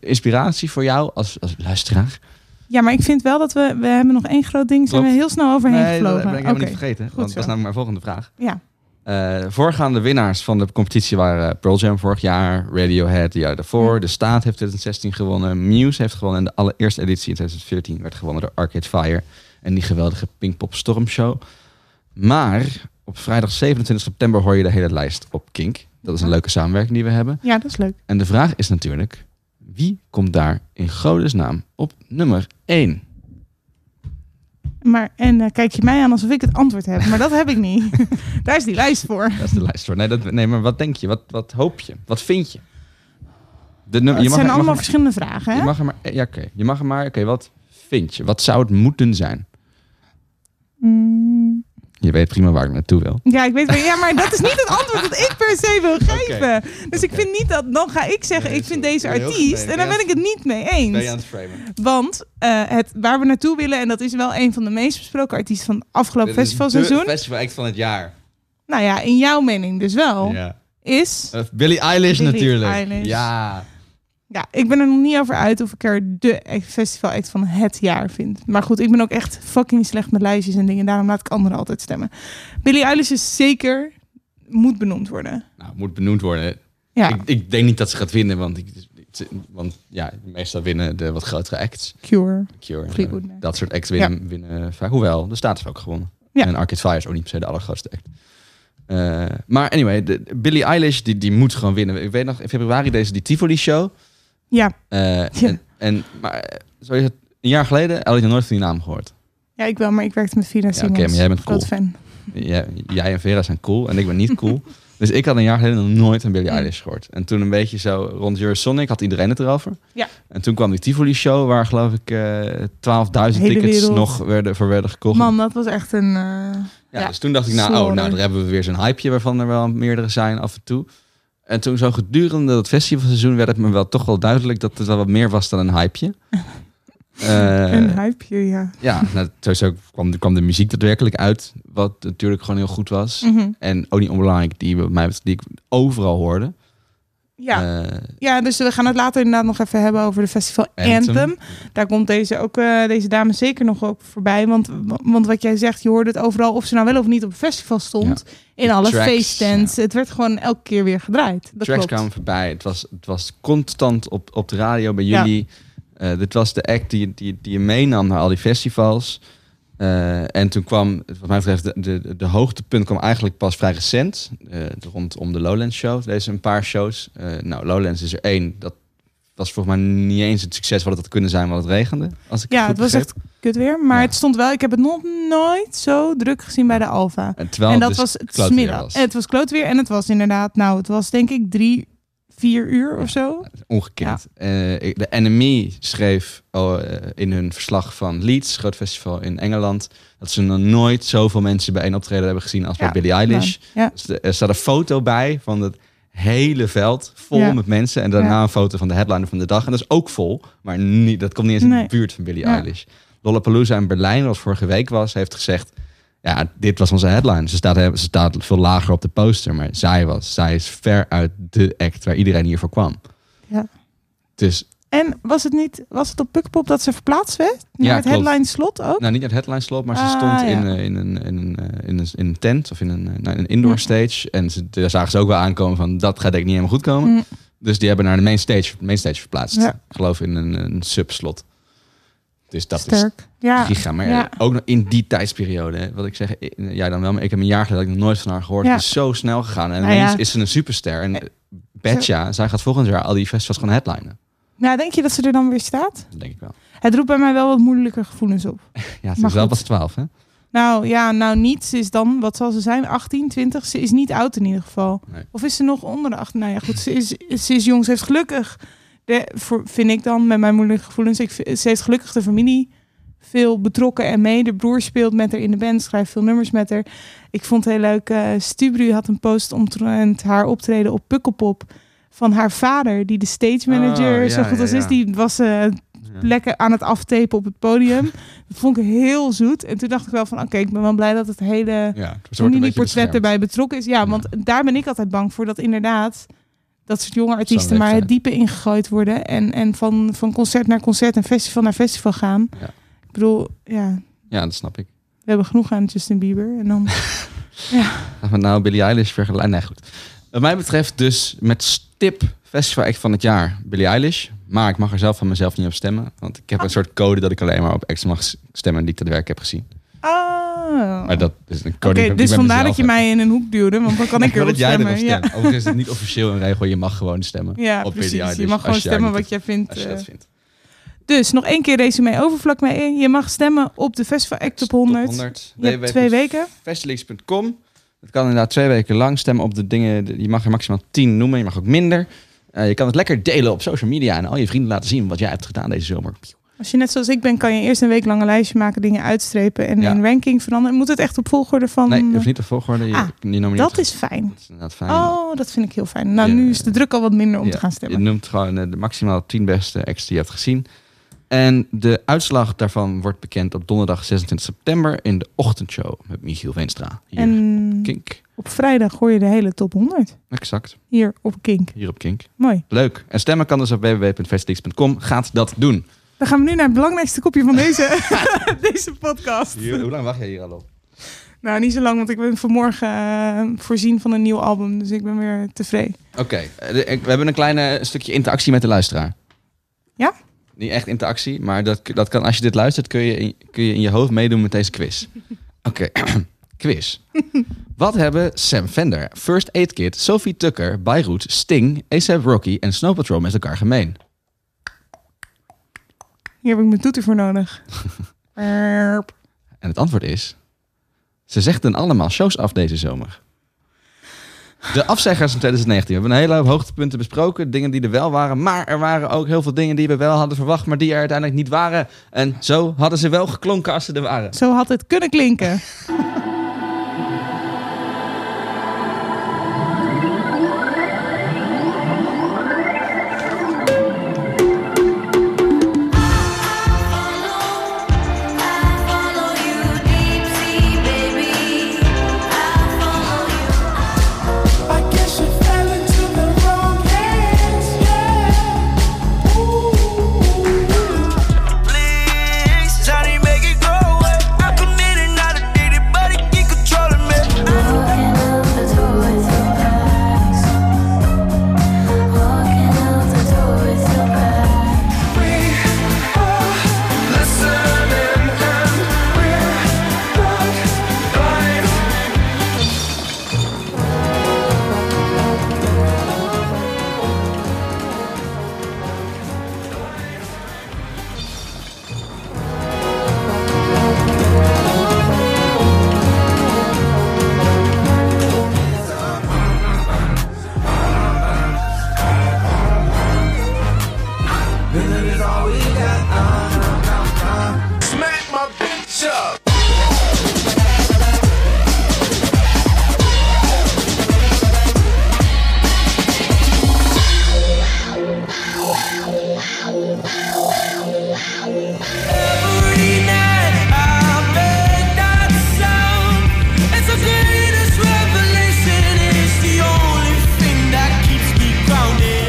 eh, inspiratie voor jou als, als luisteraar.
ja, maar ik vind wel dat we... We hebben nog één groot ding. Zijn we
Klopt.
heel snel overheen
nee, dat ben ik
gevlogen.
helemaal
Oké.
niet vergeten. Want
zo.
dat is namelijk mijn volgende vraag.
Ja.
Eh, voorgaande winnaars van de competitie waren Pearl Jam vorig jaar, Radiohead het jaar daarvoor. De Staat heeft 2016 gewonnen, Muse heeft gewonnen. En de allereerste editie in 2014 werd gewonnen door Arcade Fire. En die geweldige Pinkpop Storm Show. Maar op vrijdag 27 september hoor je de hele lijst op Kink. Dat is een leuke samenwerking die we hebben.
ja, dat is leuk.
En de vraag is natuurlijk, wie komt daar in godesnaam op nummer 1?
Maar, en eh, kijk je mij aan alsof ik het antwoord heb. Maar dat heb ik niet. Daar is die lijst voor.
Dat is de lijst voor. Nee, dat, nee maar wat denk je? Wat, wat hoop je? Wat vind je? De nummer,
het zijn
er-
allemaal
mag er-
verschillende vragen, hè?
Je mag er maar, eh, ja, oké. Je mag er maar, oké, wat vind je? Wat zou het moeten zijn?
Mm.
Je weet prima waar ik naartoe wil.
Ja, ik weet wel. Ja, maar dat is niet het antwoord dat ik per se wil geven. Dus ik
Oké.
vind niet dat. Dan ga ik zeggen,
Nee,
ik vind
sorry.
deze
Nee, heel goed.
artiest.
Nee,
en dan
ben
ben
je
ik het niet mee eens.
het framen?
Want eh, het, waar we naartoe willen, en dat is wel een van de meest besproken artiesten van het afgelopen festivalseizoen.
festival act van het jaar.
nou ja, in jouw mening dus wel.
Ja.
Is.
Eh, Billie Eilish
Billie
natuurlijk.
Eilish.
Ja.
Ja, ik ben er nog niet over uit of ik er de festivalact van het jaar vind. Maar goed, ik ben ook echt fucking slecht met lijstjes en dingen. Daarom laat ik anderen altijd stemmen. Billie Eilish is zeker. Moet benoemd worden.
Nou, moet benoemd worden.
Ja,
Ik, ik denk niet dat ze gaat winnen, want, ik, ik- want ja, meestal winnen de wat grotere acts.
Cure.
Cure.
Fleetwood
eh,
Mac.
dat soort acts winnen, winnen vaak. Hoewel, de staat heeft ook gewonnen.
Ja.
En Arcade Fire is ook niet per se de allergrootste act. Eh, maar anyway, de, de Billie Eilish die, die moet gewoon winnen. Ik weet nog, in februari deze die Tivoli show.
Ja, Ja.
Eh, en, en, maar eh, zo is het, Een jaar geleden had ik nog nooit van die naam gehoord.
Ja, ik wel, maar ik werkte met Vina
Ja, oké,
Simons.
maar jij bent cool.
Groot fan.
Jij, jij en Vera zijn cool en ik ben niet cool. dus ik had een jaar geleden nog nooit een Billie Eilish gehoord. En toen een beetje zo rond Eurosonic had iedereen het erover.
Ja.
En toen kwam die Tivoli show waar geloof ik eh 12.000 tickets
Hele wereld.
nog werden, voor werden gekocht.
Man, dat was echt een... eh,
Ja, Dus toen dacht ik, nou, oh,
Snorren.
nou, daar hebben we weer zo'n hypeje waarvan er wel meerdere zijn af en toe. En toen zo gedurende dat festivalseizoen werd het me wel toch wel duidelijk dat het wel wat meer was dan een hypeje. Eh,
een hypeje, ja.
ja, nou, sowieso kwam, kwam de muziek daadwerkelijk uit, wat natuurlijk gewoon heel goed was.
Mhm.
En ook niet onbelangrijk, die, bij mij, die ik overal hoorde.
Ja.
Eh,
Ja, dus we gaan het later inderdaad nog even hebben over de festival Anthem.
Anthem.
Daar komt deze, ook, eh, deze dame zeker nog op voorbij. Want, want wat jij zegt, je hoorde het overal of ze nou wel of niet op het festival stond. In
De
alle
tracks,
feeststands. Het werd gewoon elke keer weer gedraaid. Dat
tracks
klopt.
kwamen voorbij. Het was, het was constant op, op de radio bij
Ja.
jullie. Eh, dit was de act die, die, die je meenam naar al die festivals. Eh, en toen kwam, wat mij betreft, de, de, de hoogtepunt kwam eigenlijk pas vrij recent. eh, rondom de Lowlands Show. Deze een paar shows. Eh, nou, Lowlands is er één. Dat was volgens mij niet eens het succes wat het had kunnen zijn, want het regende. Als ik
Ja,
goed
het was
begreep.
echt kut weer. Maar het stond wel, ik heb het nog nooit zo druk gezien bij de Alfa.
En terwijl
en
het
dat
dus
was het
klote weer
smiddag.
was.
En Het was kloot weer en het was inderdaad, nou, het was denk ik drie, vier uur of zo.
ongekend. Eh, ik- de NME schreef oh, eh, in hun verslag van Leeds, groot festival in Engeland, dat ze nog nooit zoveel mensen bij één optreden hebben gezien als bij
Ja,
Billie Eilish.
nou, ja.
Dus er- er staat een foto bij van het hele veld vol
Ja.
met mensen en daarna
Ja.
een foto van de headliner van de dag en dat is ook vol, maar niet, dat komt niet eens in
Nee.
de buurt van Billie
Ja.
Eilish. Lollapalooza in Berlijn, wat vorige week was, heeft gezegd. Ja, dit was onze headline. Ze staat, ze staat veel lager op de poster, maar zij was. Zij is ver uit de act waar iedereen hiervoor kwam.
Ja.
Dus
En was het niet, was het op Pukpop dat ze verplaatst werd? Naar
Ja,
het
klopt.
headline slot ook?
Nou, niet het headline slot, maar ze
Ah,
stond in,
ja. Hm.
eh, in, een, in, een, eh, in, een, in een tent of in een, eh, nou, in een indoor stage. En ze, daar zagen ze ook wel aankomen van dat gaat denk ik niet helemaal goed komen.
Mm.
Dus die hebben naar de main stage, main stage verplaatst.
Ja.
Ik geloof in een, een subslot. Dus dat is
Sterk. Ja.
giga. Maar
Ja.
ook nog in die tijdsperiode, hè, wat ik zeg, eh, jij dan wel, maar ik heb een jaar geleden dat ik nog nooit van haar gehoord.
Ja.
Het is zo snel gegaan. En
Nou
ineens
ja.
is ze een superster. En eh, Betja, zij gaat volgend jaar al die festivals gaan headlinen.
Nou, denk je dat ze er dan weer staat?
Dat denk ik wel.
Het roept bij mij wel wat moeilijke gevoelens op.
Ja, ze
Maar
is wel
goed.
pas 12, hè?
Nou ja, nou niet. Ze is dan, wat zal ze zijn, 18, 20? Ze is niet oud in ieder geval.
Nee.
Of is ze nog onder de 18? Nou ja, goed, ze is, ze is jong. Ze heeft gelukkig, de, voor, vind ik dan, met mijn moeilijke gevoelens, ik, vind- ze heeft gelukkig de familie veel betrokken en mee. De broer speelt met haar in de band, schrijft veel nummers met haar. Ik vond het heel leuk, eh, Stubru had een post omtrent haar optreden op Pukkelpop van haar vader, die de stage manager
Oh,
zo
ja,
goed
ja,
als is.
ja.
Die was eh, lekker aan het aftapen op het podium. Dat vond ik heel zoet. En toen dacht ik wel van, oké, ik ben wel blij dat het hele
Ja, ze wordt een beetje
familieportret
beschermd.
erbij betrokken is. Ja, want daar ben ik altijd bang voor, dat inderdaad dat soort jonge artiesten
leeftijd.
maar het diepe ingegooid worden. En, en van, van concert naar concert en festival naar festival gaan.
Ja.
Ik bedoel, ja,
Ja, dat snap ik.
we hebben genoeg aan Justin Bieber. En dan,
Gaan we nou Billie Eilish vergelijken? Nee, goed. Wat mij betreft dus met stip festival act van het jaar Billie Eilish. Maar ik mag er zelf van mezelf niet op stemmen. Want ik heb een soort code dat ik alleen maar op acts mag s- stemmen die ik te werk heb gezien.
oh.
Maar dat is een
Oké,
code die ik
dus
bij
vandaar
mezelf
dat je
heb.
mij in een hoek duwde, want dan kan ik
Ik wil
erop
dat jij
stemmen.
erop
Ja,
stemt. Overigens is het niet officieel een regel. Je mag gewoon stemmen
ja
op Billie
precies.
Eilish.
Je mag gewoon
dus als haar
stemmen
niet-
wat jij vindt.
Als je
eh,
dat vindt.
Dus nog één keer resume overvlak mee. Je mag stemmen op de Festival Act Top 100. Je hebt twee weken.
Festileaks.com. Dat kan inderdaad twee weken lang stemmen op de dingen. Je mag er maximaal tien noemen. Je mag ook minder. Eh, je kan het lekker delen op social media en al je vrienden laten zien wat jij hebt gedaan deze zomer.
Als je net zoals ik ben, kan je eerst een week lang een lijstje maken, dingen uitstrepen en
Ja.
een ranking veranderen. Moet het echt op volgorde van...
Nee, je hoeft niet de volgorde. Je,
eh, Ah,
je nomineert
dat is fijn.
Dat is inderdaad fijn.
Oh, dat vind ik heel fijn. Nou,
Ja.
nu is de druk al wat minder om
Ja,
te gaan
Je
stemmen.
noemt gewoon eh, de maximaal 10 beste acts die je hebt gezien. En de uitslag daarvan wordt bekend op donderdag 26 september in de ochtendshow met Michiel Veenstra. Hier,
En
Kink.
op vrijdag gooi je de hele top 100
Exact.
hier op Kink.
Hier op Kink.
Mooi.
Leuk. En stemmen kan dus op www.festileaks.com. Gaat dat doen.
Dan gaan we nu naar het belangrijkste kopje van deze, deze podcast.
hoe lang wacht jij hier al op?
Nou, niet zo lang, want ik ben vanmorgen eh, voorzien van een nieuw album. Dus ik ben weer tevreden.
Oké, eh, de- ik- we hebben een klein eh, stukje interactie met de luisteraar.
Ja?
Niet echt interactie, maar dat, dat kan, als je dit luistert, kun je, in, kun je in je hoofd meedoen met deze quiz. Oké, quiz. Wat hebben Sam Fender, First Aid Kit, Sophie Tucker, Beirut, Sting, ASAP Rocky en Snow Patrol met elkaar gemeen?
Hier heb ik mijn toeter voor nodig. Erp.
En het antwoord is... Ze zegden allemaal shows af deze zomer. De afzeggers in 2019. We hebben een hele hoop hoogtepunten besproken. Dingen die er wel waren. Maar er waren ook heel veel dingen die we wel hadden verwacht. Maar die er uiteindelijk niet waren. En zo hadden ze wel geklonken als ze er waren.
Zo had het kunnen klinken.
Smack my bitch up.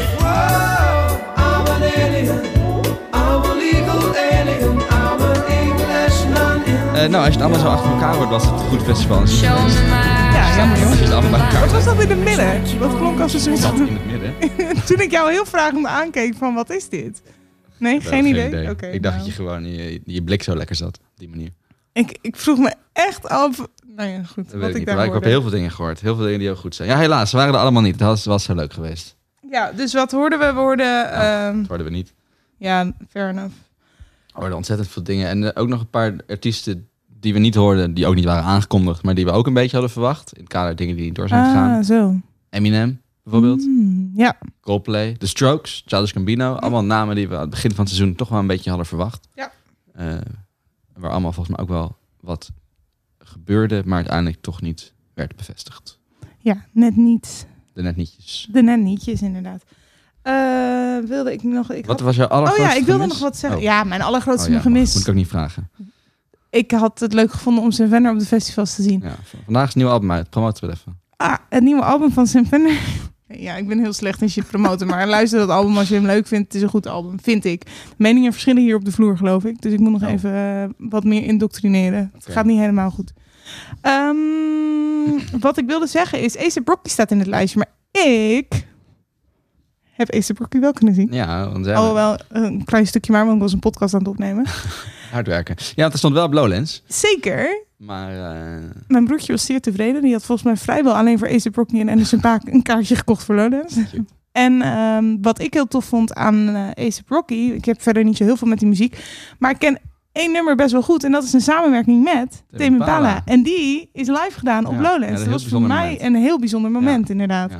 Whoa, I'm an alien. I'm a legal alien. I'm an Englishman.
Eh, nou, als je het allemaal zo achter elkaar hoort, was het een goed festival.
Ja, jammer
Het
jongens.
is allemaal bij elkaar.
Wat was dat in het midden? Dat klonk als een soort
Dat in
van...
het midden.
Toen ik jou heel vragend aankeek van wat is dit? Nee, geen idee? Oké.
ik dacht
nou.
dat je gewoon je, je blik zo lekker zat. Op die manier.
ik, ik vroeg me echt af... Nou ja, goed.
Dat weet
Wat
ik
ik
niet.
daar
Maar ik heb
hoorde.
heel veel dingen gehoord. Heel veel dingen die ook goed zijn. Ja, helaas. Ze waren er allemaal niet. Dat was, was zo leuk geweest.
Ja, dus wat hoorden we? We hoorden... ehm,
Dat hoorden we niet.
ja, fair enough.
We hoorden ontzettend veel dingen. En eh, ook nog een paar artiesten die we niet hoorden. Die ook niet waren aangekondigd. Maar die we ook een beetje hadden verwacht. In het kader dingen die niet door zijn gegaan.
Ah, zo.
Eminem bijvoorbeeld.
Hmm, ja.
Coldplay. The Strokes. Childish Gambino. Allemaal namen die we aan het begin van het seizoen toch wel een beetje hadden verwacht.
Ja.
Eh, waar allemaal volgens mij ook wel wat gebeurde. Maar uiteindelijk toch niet werd bevestigd.
ja, net niet.
De net nietjes.
De net nietjes inderdaad. Eh, wilde ik nog... Ik
Wat
had-
was jouw
Oh
allergrootste
ja, ik wilde
gemis?
nog wat zeggen.
Oh.
Ja, mijn allergrootste
Oh ja,
gemis.
Moet ik ook niet vragen.
Ik had het leuk gevonden om Sven Venner op de festivals te zien.
Ja, v- vandaag is een nieuw album uit. Promoten we het even.
Ah, het nieuwe album van Sven Venner. Ja, ik ben heel slecht in shit promoten, maar luister dat album als je hem leuk vindt. Het is een goed album, vind ik. Meningen verschillen hier op de vloer, geloof ik. Dus ik moet nog
Oh.
even eh, wat meer indoctrineren. Het
Oké.
gaat niet helemaal goed. Ehm, wat ik wilde zeggen is, Ace Brocky staat in het lijstje, maar ik heb Ace Brocky wel kunnen zien.
Ja, want ja,
Oh, wel een klein stukje maar, want ik was een podcast aan het opnemen.
hard werken. Ja, want er stond wel op Lowlands.
Zeker,
Maar eh,
Mijn broertje was zeer tevreden. Die had volgens mij vrijwel alleen voor Ace Brockney en Anderson Paak een kaartje gekocht voor Lowlands. En ehm, wat ik heel tof vond aan eh Ace Rocky, ik heb verder niet zo heel veel met die muziek, maar ik ken één nummer best wel goed en dat is een samenwerking met Tame
Impala.
Impala. En die is live gedaan op
Ja, ja, dat is
Lowlands.
een
dat was
heel
voor
bijzonder
mij
moment.
een heel bijzonder moment, inderdaad.
Ja,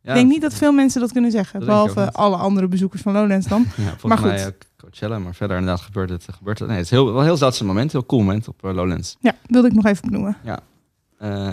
ja,
ik denk niet dat veel mensen dat kunnen zeggen,
Dat denk ik ook
behalve alle andere bezoekers van Lowlands dan.
Ja, volgens
maar goed.
mij ook Coachella, maar verder inderdaad gebeurt het. Gebeurt het. Nee, het is heel, wel een heel zeldzaam moment. Heel cool moment op eh, Lowlands.
Ja, wilde ik nog even benoemen.
Eh,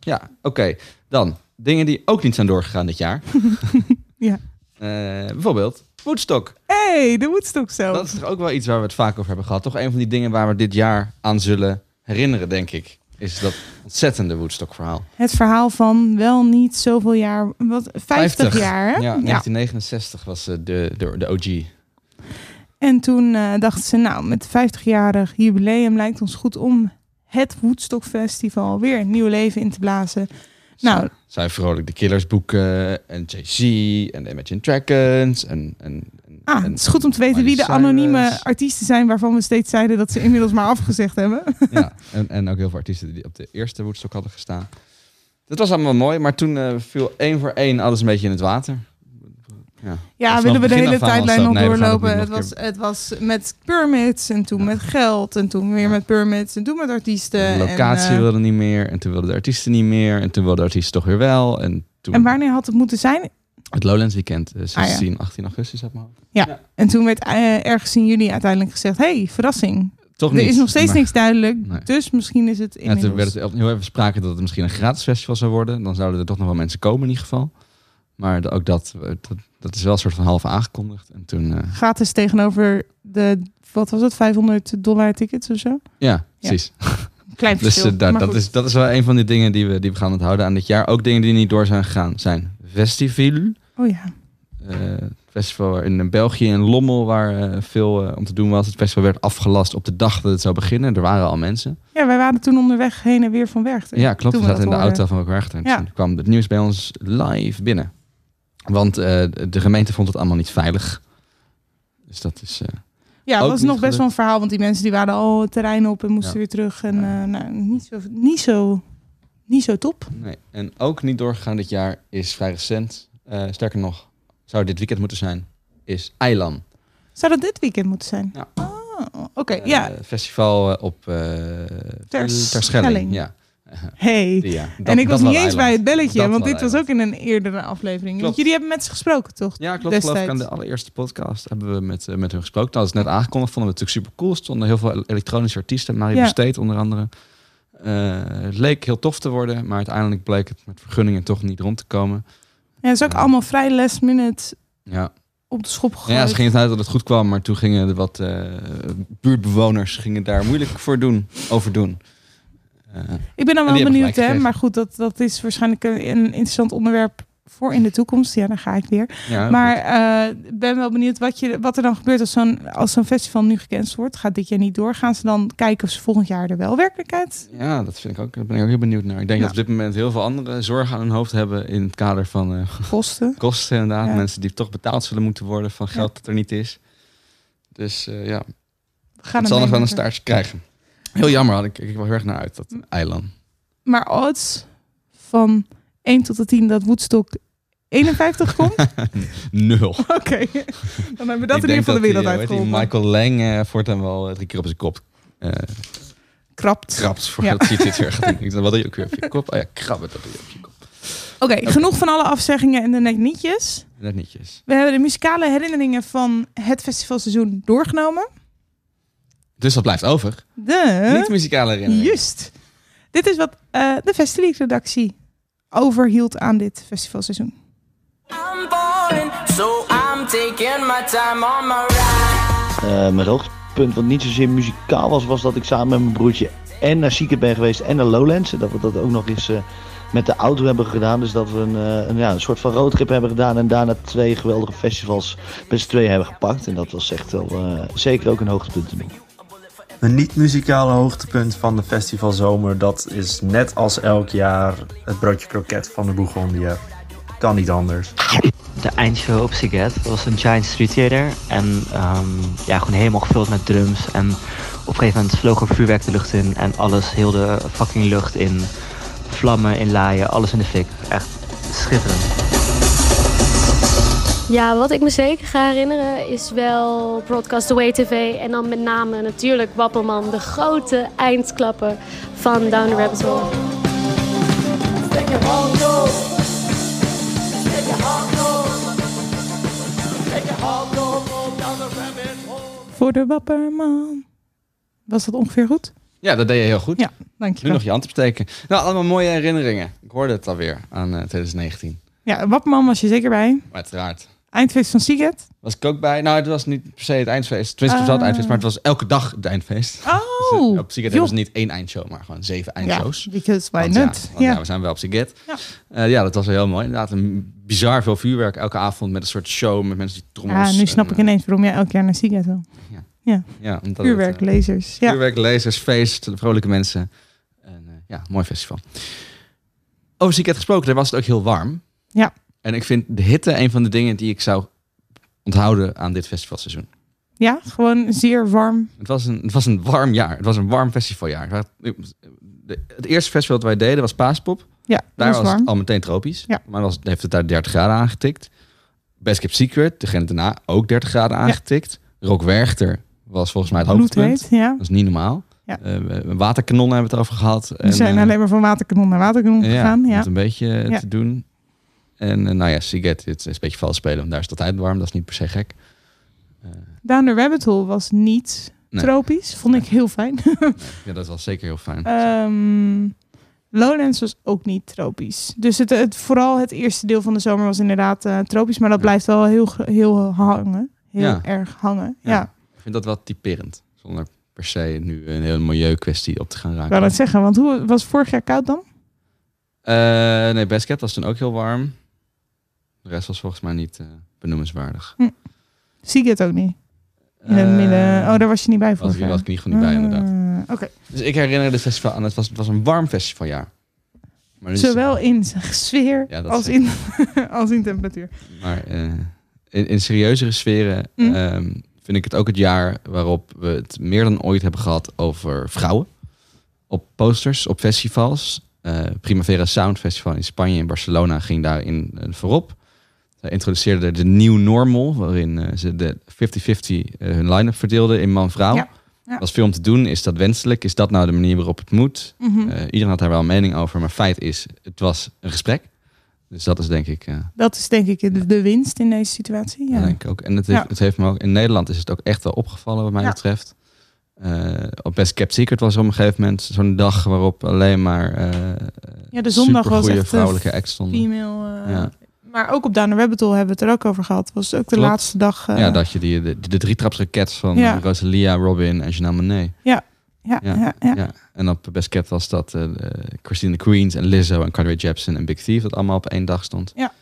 ja, oké. Dan, dingen die ook niet zijn doorgegaan dit jaar.
Ja.
Eh, bijvoorbeeld Woodstock.
hey, de Woodstock zo.
Dat is toch ook wel iets waar we het vaak over hebben gehad. Toch een van die dingen waar we dit jaar aan zullen herinneren, denk ik. Is dat ontzettende Woodstock verhaal.
Het verhaal van wel niet zoveel jaar, wat, 50, jaar.
Ja,
Hè?
1969 was eh, de, de, de OG.
En toen eh, dachten ze, nou, met 50-jarig jubileum lijkt ons goed om het Woodstock Festival weer een nieuw leven in te blazen. Nou,
Zij vrolijk de Killers boeken en Jay-Z en de Imagine Dragons en... en, en-
ah,
en-
het is goed om te weten wie
Miley
de
Cyrus.
anonieme artiesten zijn waarvan we steeds zeiden dat ze inmiddels maar afgezegd hebben.
Ja, en, en ook heel veel artiesten die op de eerste Woodstock hadden gestaan. Dat was allemaal mooi, maar toen eh, viel één voor één alles een beetje in het water. Ja,
Ja,
Dat
willen we
vanaf
de
het
hele
begin af aan was
tijdlijn
dat,
nog
nee, we gaan
doorlopen?
dit
Het
nog
was, het was met permits en toen met geld en toen weer met permits en toen met artiesten.
De
en,
locatie
eh,
wilde niet meer. En toen wilden de artiesten niet meer. En toen wilden de artiesten toch weer wel. En toen
en wanneer had het moeten zijn?
het Lowlands weekend, eh, 16,
Ah,
18 augustus uit mijn hoofd.
Ja, en toen werd eh, ergens in juli uiteindelijk gezegd, hey, verrassing.
Toch
er
niet,
is nog steeds
maar-
niks duidelijk,
Nee.
dus misschien is het
Ja,
inmiddels...
toen werd het heel even sprake dat het misschien een gratis festival zou worden. Dan zouden er toch nog wel mensen komen in ieder geval. Maar de- ook dat, eh, dat, dat is wel een soort van half aangekondigd. En toen, eh,
Gratis tegenover de, wat was het, 500 dollar tickets of zo?
ja, precies.
Klein
Dus
verschil,
eh, daar-
maar
dat,
goed.
is, dat is wel een van die dingen die we, die we gaan onthouden aan dit jaar. Ook dingen die niet door zijn gegaan zijn Festival.
Oh ja.
eh, het festival in België in Lommel, waar eh, veel eh, om te doen was. Het festival werd afgelast op de dag dat het zou beginnen. Er waren al mensen.
Ja, wij waren toen onderweg heen en weer van Werchter.
Ja, klopt.
Toen
We
dat
zaten in de
hoorden.
auto van elkaar achter. En
Ja.
toen kwam het nieuws bij ons live binnen. Want eh, de gemeente vond het allemaal niet veilig. Dus dat is. eh,
Ja, dat
ook
was
niet
nog best wel een verhaal, want die mensen die waren al het terrein op en moesten
Ja.
weer terug. En eh, nou, niet, zo, niet, zo, niet zo top.
Nee. En ook niet doorgegaan dit jaar is vrij recent. Eh, sterker nog, zou dit weekend moeten zijn, is Eilan.
Zou dat dit weekend moeten zijn? Oh, oké. ja,
Eh, festival eh, op eh Terschelling.
Terschelling.
Ja.
hey.
Die, ja. Dat-
en ik was
dat
niet eens
Eiland.
bij het belletje,
Dat
want
wel
dit was ook in een eerdere aflevering.
Klopt.
Want jullie hebben met ze gesproken, toch?
Ja, klopt. Geloof ik, aan de allereerste podcast hebben we met, eh, met hun gesproken. Dat is net aangekondigd. Vonden we het natuurlijk super cool. Er stonden heel veel elektronische artiesten. Marie
Ja.
Besteed onder andere. Eh, het leek heel tof te worden. Maar uiteindelijk bleek het met vergunningen toch niet rond te komen.
Ja, dat is ook allemaal vrij last minute
Ja,
op de schop gegooid.
ja ze gingen het uit dat het goed kwam. Maar toen gingen de wat eh, buurtbewoners gingen daar moeilijk voor doen, over doen. Eh,
Ik ben dan wel
en die hebben
benieuwd,
gelijk
hè?
gekregen.
Maar goed, dat, dat is waarschijnlijk een, een interessant onderwerp voor in de toekomst. Ja, daar ga ik weer.
Ja,
maar eh, ik ben wel benieuwd wat, je, wat er dan gebeurt als zo'n, als zo'n festival nu gecanceld wordt. Gaat dit jaar niet door? Gaan ze dan kijken of ze volgend jaar er wel werkelijkheid?
Ja, dat vind ik ook. Daar ben ik ook heel benieuwd naar. Ik denk dat op dit moment heel veel andere zorgen aan hun hoofd hebben in het kader van eh,
Kosten.
Kosten inderdaad.
Ja.
Mensen die toch betaald zullen moeten worden van geld dat er niet is. Dus eh, ja,
het
het zal nog wel een
meemaken.
staartje krijgen. Heel jammer, had ik, ik keek wel heel erg naar uit, dat eiland.
Maar odds van 1 tot de 10 dat Woodstock 51 komt? Oké,
Nul.
dan hebben we dat in ieder geval de wereld
Die
uitgeholpen.
Michael Lang eh voortaan wel eh, drie keer op zijn kop eh,
Krapt.
krapt
Ja.
voordat hij dit weer gaat doen. Ik dacht, Wat doe je ook weer op je kop? Oh ja, krabben, dat doe je op je kop.
Oké, genoeg van alle afzeggingen en de netnietjes.
Net nietjes.
We hebben de muzikale herinneringen van het festivalseizoen doorgenomen.
Dus dat blijft over.
De...
Niet-muzikale herinneringen.
Juist. Dit is wat eh, de Festileak-redactie overhield aan dit festivalseizoen.
I'm boring, so I'm taking my time on my ride.
Eh, mijn hoogtepunt, wat niet zozeer muzikaal was, was dat ik samen met mijn broertje en naar Zieken ben geweest en naar Lowlands. En dat we dat ook nog eens eh, met de auto hebben gedaan. Dus dat we een, eh, een, ja, een soort van roadtrip hebben gedaan en daarna twee geweldige festivals met z'n tweeën hebben gepakt. En dat was echt wel eh, zeker ook een hoogtepunt te noemen.
Een niet-muzikale hoogtepunt van de festivalzomer, dat is net als elk jaar het broodje kroket van de Bourgondië. Kan niet anders.
De eindshow op Siget was een Giant Street Theater. En ehm, ja, gewoon helemaal gevuld met drums. En op een gegeven moment vloog er vuurwerk de lucht in. En alles, heel de fucking lucht in. Vlammen, in laaien, alles in de fik. Echt schitterend.
Ja, wat ik me zeker ga herinneren is wel Broadcast Away TV. En dan met name natuurlijk Wapperman, de grote eindklapper van Down the Rabbit Hole.
Voor de Wapperman. Was dat ongeveer goed?
Ja, dat deed je heel goed.
Ja, dankjewel.
Nu nog je hand opsteken. Nou, allemaal mooie herinneringen. Ik hoorde het alweer aan eh, 2019.
Ja, Wapperman was je zeker bij.
Uiteraard.
Eindfeest van Siget.
Was ik ook bij. Nou, het was niet per se het eindfeest. Tenminste, het was wel het
Ah.
eindfeest, maar het was elke dag het eindfeest. Dus, eh,
Oh,
op Siget
joh.
was niet één eindshow, maar gewoon zeven eindshows.
Ja, because why
Want
not?
Ja, want
Ja,
ja, we zijn wel op Siget. Ja. ja, dat was wel heel mooi. Inderdaad, een bizar veel vuurwerk elke avond met een soort show met mensen die trommels.
Ah, nu snap ik ineens waarom jij elk jaar naar Siget wil.
Ja.
ja.
Ja, omdat het,
Vuurwerk,
eh,
lasers. Ja.
Vuurwerk, lasers, feest, vrolijke mensen. En, eh, ja, mooi festival. Over Siget gesproken, daar was het ook heel warm.
Ja.
En ik vind de hitte een van de dingen die ik zou onthouden aan dit festivalseizoen.
ja, gewoon zeer warm.
Het was, een, het was een warm jaar. Het was een warm festivaljaar. Het was- de- Het eerste festival dat wij deden was Paaspop.
Ja, dat
Daar
was
was,
warm.
het al meteen tropisch.
Ja.
Maar was, heeft het daar 30 graden aangetikt. Best Kept Secret, degene daarna, ook 30 graden aangetikt. Rock Werchter was volgens mij het hoogtepunt.
Bloedheet, ja.
Dat is niet normaal.
Ja.
Eh, waterkanon hebben we het over gehad. eh,
We zijn alleen maar van waterkanon naar waterkanon gegaan.
om
Ja.
het een beetje eh,
Ja.
te doen. En eh, nou ja, Siget dit is een beetje vals spelen, want daar is het altijd warm. Dat is niet per se gek.
Down the Rabbit Hole was niet
Nee.
tropisch. Vond ik heel fijn.
Ja, dat was zeker heel fijn.
Ehm, Lowlands was ook niet tropisch. Dus het, het, vooral het eerste deel van de zomer was inderdaad eh, tropisch. Maar dat blijft wel heel, gro- heel hangen. Heel
Ja.
erg hangen. Ja.
Ik vind dat wel typerend. Zonder per se nu een hele milieukwestie op te gaan
Ik
raken.
wou Nou, dat zeggen, want hoe was vorig jaar koud dan?
Eh, nee, Best Kept was toen ook heel warm. De rest was volgens mij niet eh, benoemenswaardig.
Zie ik het ook niet. In het
Eh,
midden. Oh, daar was je niet bij vorig
was ik-
jaar.
was ik niet- gewoon niet bij, inderdaad.
Eh, Oké.
Dus ik herinner dit festival aan. Het was, het was een warm festivaljaar. Maar nu is het-
Zowel in z- sfeer
Ja, dat
als, in, als in temperatuur.
Maar eh, in, in serieuzere sferen
Mm.
ehm, vind ik het ook het jaar waarop we het meer dan ooit hebben gehad over vrouwen. Op posters, op festivals. Eh, Primavera Sound Festival in Spanje en Barcelona ging daarin eh, voorop. Zij introduceerden de New Normal, waarin eh, ze de 50-50 eh, hun line-up verdeelden in man-vrouw.
Ja, ja.
Was veel om te doen. Is dat wenselijk? Is dat nou de manier waarop het moet?
Mhm.
Eh, iedereen had daar wel een mening over, maar feit is, het was een gesprek. Dus dat is denk ik eh,
Dat is denk ik de, de winst in deze situatie. Ja.
ja. denk ik ook. En het heeft,
Ja.
het heeft me ook, in Nederland is het ook echt wel opgevallen, wat mij
Ja.
betreft. Eh, op Best Kept Secret was er op een gegeven moment zo'n dag waarop alleen maar. eh
Ja, de zondag was
supergoeie
echt eh,
vrouwelijke acts stonden.
female. eh,
Ja.
Maar ook op Down the Rabbit Hole hebben we het er ook over gehad. Was ook de
Klopt.
laatste dag. eh,
ja, dat je die, de, de drietrapsrakets van
Ja.
Rosalia, Robin en Janelle Monet.
Ja, ja, ja. ja,
En op Best Kept was dat eh, eh, Christine the Queens en Lizzo en Carly Rae Jepsen en Big Thief, dat allemaal op één dag stond.
Ja.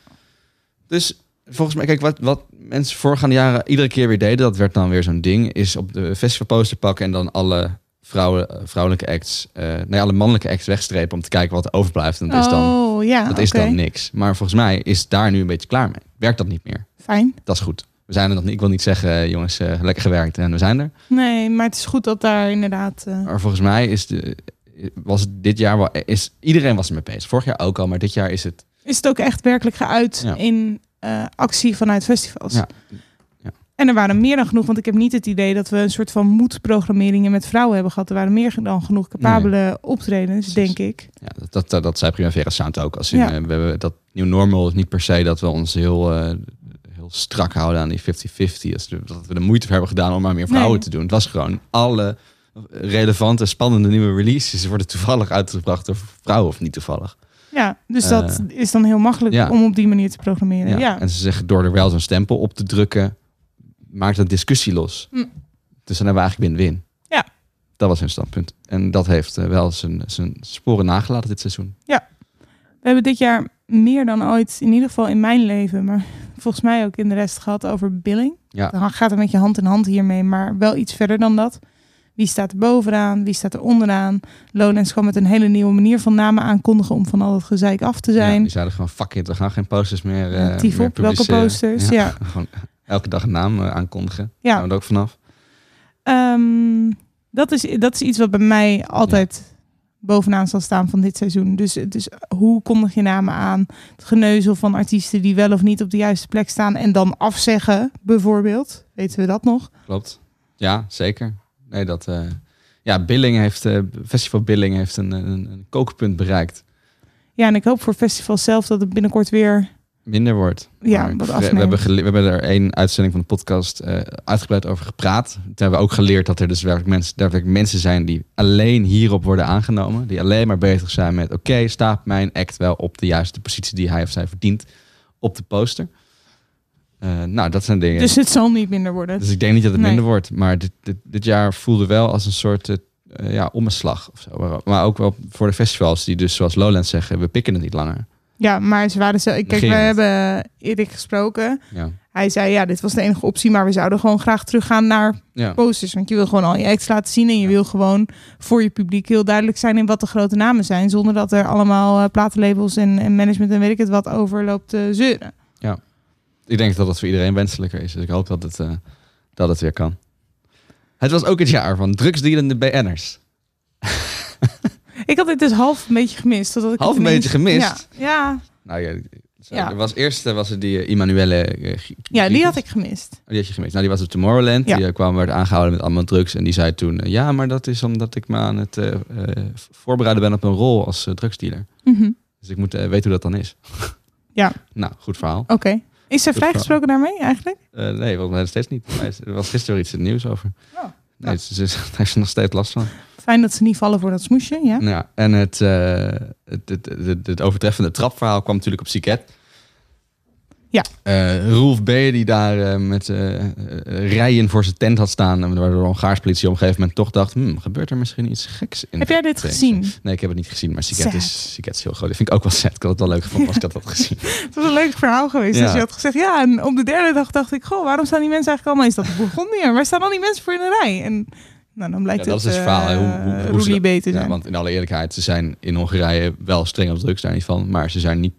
Dus volgens mij, kijk, wat, wat mensen voorgaande jaren iedere keer weer deden, dat werd dan weer zo'n ding, is op de festivalposter pakken en dan alle vrouwen, vrouwelijke acts, eh nee, alle mannelijke acts wegstrepen om te kijken wat er overblijft. En dat is dus dan,
Oh, ja,
dat is
oké.
dan niks. Maar volgens mij is daar nu een beetje klaar mee. Werkt dat niet meer?
Fijn.
Dat is goed. We zijn er nog niet. Ik wil niet zeggen, eh, jongens, eh, lekker gewerkt en we zijn er.
Nee, maar het is goed dat daar inderdaad. eh,
Maar volgens mij is de, was het dit jaar wel. Is, iedereen was ermee bezig. Vorig jaar ook al, maar dit jaar is het.
is het ook echt werkelijk geuit
Ja.
in eh, actie vanuit festivals.
Ja.
En er waren meer dan genoeg, want ik heb niet het idee dat we een soort van moedprogrammeringen met vrouwen hebben gehad. Er waren meer dan genoeg capabele optredens, denk ik.
Ja, dat, dat, dat, zei Primavera Sound ook. Als in,
Ja.
eh, we hebben, dat nieuw normal is niet per se dat we ons heel, eh, heel strak houden aan die 50-50. Dus de- dat we de moeite voor hebben gedaan om maar meer vrouwen
Nee.
te doen. Het was gewoon alle relevante, spannende nieuwe releases worden toevallig uitgebracht door vrouwen of niet toevallig.
Ja, dus
Eh,
dat is dan heel makkelijk
ja.
om op die manier te programmeren. Ja, ja.
En ze zeggen door er wel zo'n stempel op te drukken, maakt dat discussie los.
Hm.
Dus dan hebben we eigenlijk win-win.
Ja.
Dat was hun standpunt. En dat heeft eh, wel zijn, zijn sporen nagelaten dit seizoen.
We hebben dit jaar meer dan ooit, in ieder geval in mijn leven, maar volgens mij ook in de rest gehad over billing.
Ja.
Dan gaat het met je hand in hand hiermee, maar wel iets verder dan dat. Wie staat er bovenaan? Wie staat er onderaan? Lonens kwam met een hele nieuwe manier van namen aankondigen om van al dat gezeik af te
Ja,
zijn.
die zeiden gewoon, fuck it, we gaan geen posters meer, eh
Ja, tief
meer
op, welke
publiceren.
posters, ja.
Gewoon elke dag een naam eh, aankondigen.
Ja.
Ja. Daar ook vanaf.
Ehm, dat, is, dat is iets wat bij mij altijd bovenaan zal staan van dit seizoen. Dus, dus hoe kondig je namen aan? Het geneuzel van artiesten die wel of niet op de juiste plek staan en dan afzeggen, bijvoorbeeld. Weten we dat nog?
Klopt. Ja, zeker. Nee, dat... eh, ja, Billing heeft... eh, Festival Billing heeft een, een, een kookpunt bereikt.
Ja, en ik hoop voor festival zelf dat het binnenkort weer.
minder wordt.
Ja,
Maar ik
wat
vre- we,
afneemt.
hebben gele- we hebben er één uitzending van de podcast eh, uitgebreid over gepraat. Toen hebben we ook geleerd dat er dus werkelijk mensen, daadwerkelijk mensen zijn die alleen hierop worden aangenomen. Die alleen maar bezig zijn met, oké, staat mijn act wel op de juiste positie die hij of zij verdient op de poster. Eh, nou, dat zijn dingen.
Dus het zal niet minder worden.
Dus ik denk niet dat het
Nee.
minder wordt. Maar dit, dit, dit jaar voelde wel als een soort eh, eh, ja, omslag of zo. Maar- Maar ook wel voor de festivals die dus zoals Lowlands zeggen, we pikken het niet langer.
Ja, maar ze waren zo. Kijk, we
Negeren het.
hebben Erik gesproken.
Ja.
Hij zei ja, dit was de enige optie, maar we zouden gewoon graag teruggaan naar
Ja.
posters. Want je wil gewoon al je acts laten zien en je wil gewoon voor je publiek heel duidelijk zijn in wat de grote namen zijn. Zonder dat er allemaal eh, platenlabels en, en management en weet ik het wat over loopt te zeuren.
Ja. Ik denk dat dat voor iedereen wenselijker is. Dus ik hoop dat het, eh, dat het weer kan. Het was ook het jaar van drugsdealende BN'ers.
Ik had dit dus half een beetje gemist. Totdat ik
Half
het
een beetje
ineens-
gemist?
Ja, ja.
Nou ja, Zo,
Ja.
Er was eerst eh, was het die eh, Emanuele. eh, G-
Ja, die
Giekels.
had ik gemist.
Oh, Die had je gemist. Nou, die was op Tomorrowland.
Ja.
Die eh, kwam, werd aangehouden met allemaal drugs. En die zei toen, eh, ja, maar dat is omdat ik me aan het eh, eh, voorbereiden ben op een rol als eh, drugsdealer.
Mhm.
Dus ik moet eh, weten hoe dat dan is.
Ja,
nou, goed verhaal.
oké. Is zij
Goed
vrijgesproken daarmee eigenlijk?
Eh, nee, volgens mij nog steeds niet. Maar Er was gisteren weer iets in het nieuws over.
Oh,
Nee, ze, ze, daar heeft ze nog steeds last van.
Fijn dat ze niet vallen voor dat smoesje, ja?
Nou ja, en het, eh, het, het, het, het overtreffende trapverhaal kwam natuurlijk op Siket.
Ja.
Eh, Roelf B. die daar eh, met eh, eh, rijen voor zijn tent had staan. en Waardoor de Hongaars politie op een gegeven moment toch dacht... "Hmm, gebeurt er misschien iets geks in
Heb jij dit
Drenthe?"
gezien?
Nee, ik heb het niet gezien. Maar Siket
Sad.
is, Siket is heel groot. Dat vind ik ook wel sad. Ik had het wel leuk gevonden als ik dat had gezien.
Het was een leuk verhaal geweest.
Ja.
Dus je had gezegd, ja, en op de derde dag dacht ik, goh, waarom staan die mensen eigenlijk allemaal? Is dat de Bourgondiër? Waar staan al die mensen voor in de rij? En nou, dan
Ja,
blijkt
dat is dus het
eh,
verhaal. hè. Hoe, hoe, hoe ze
Roelie
dat-
beter
Ja,
zijn.
want in alle eerlijkheid, ze zijn in Hongarije wel streng op drugs, daar niet van. Maar ze zijn niet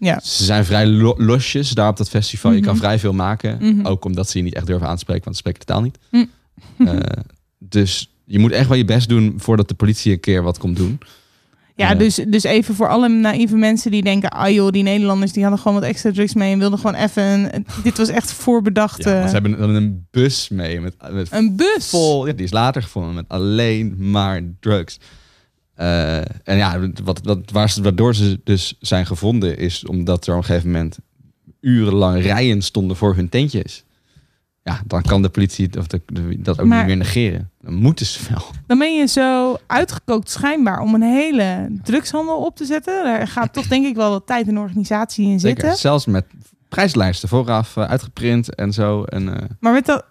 Ja.
Ze zijn vrij lo- losjes daar op dat festival. Je
Mhm.
kan vrij veel maken.
Mhm.
Ook omdat ze je niet echt durven aanspreken, want ze spreken de taal niet.
Hm.
Eh, dus je moet echt wel je best doen voordat de politie een keer wat komt doen.
Ja, dus, dus even voor alle naïeve mensen die denken... ah joh, die Nederlanders die hadden gewoon wat extra drugs mee... en wilden gewoon even... een- dit was echt voorbedacht.
Ja,
eh,
want ze hebben dan een bus mee. Met, met
Een bus?
Vol, ja, die is later gevonden met alleen maar drugs. Eh, en ja, wat, wat, waar ze, waardoor ze dus zijn gevonden is omdat er op een gegeven moment urenlang rijen stonden voor hun tentjes. Ja, dan kan de politie het- of de- de- dat ook
Maar-
niet meer negeren. Dan moeten ze wel.
Dan ben je zo uitgekookt schijnbaar om een hele drugshandel op te zetten. Daar gaat toch denk ik wel wat tijd en organisatie in
Zeker.
zitten.
Zelfs met prijslijsten vooraf eh, uitgeprint en zo. En, eh,
Maar, met dat,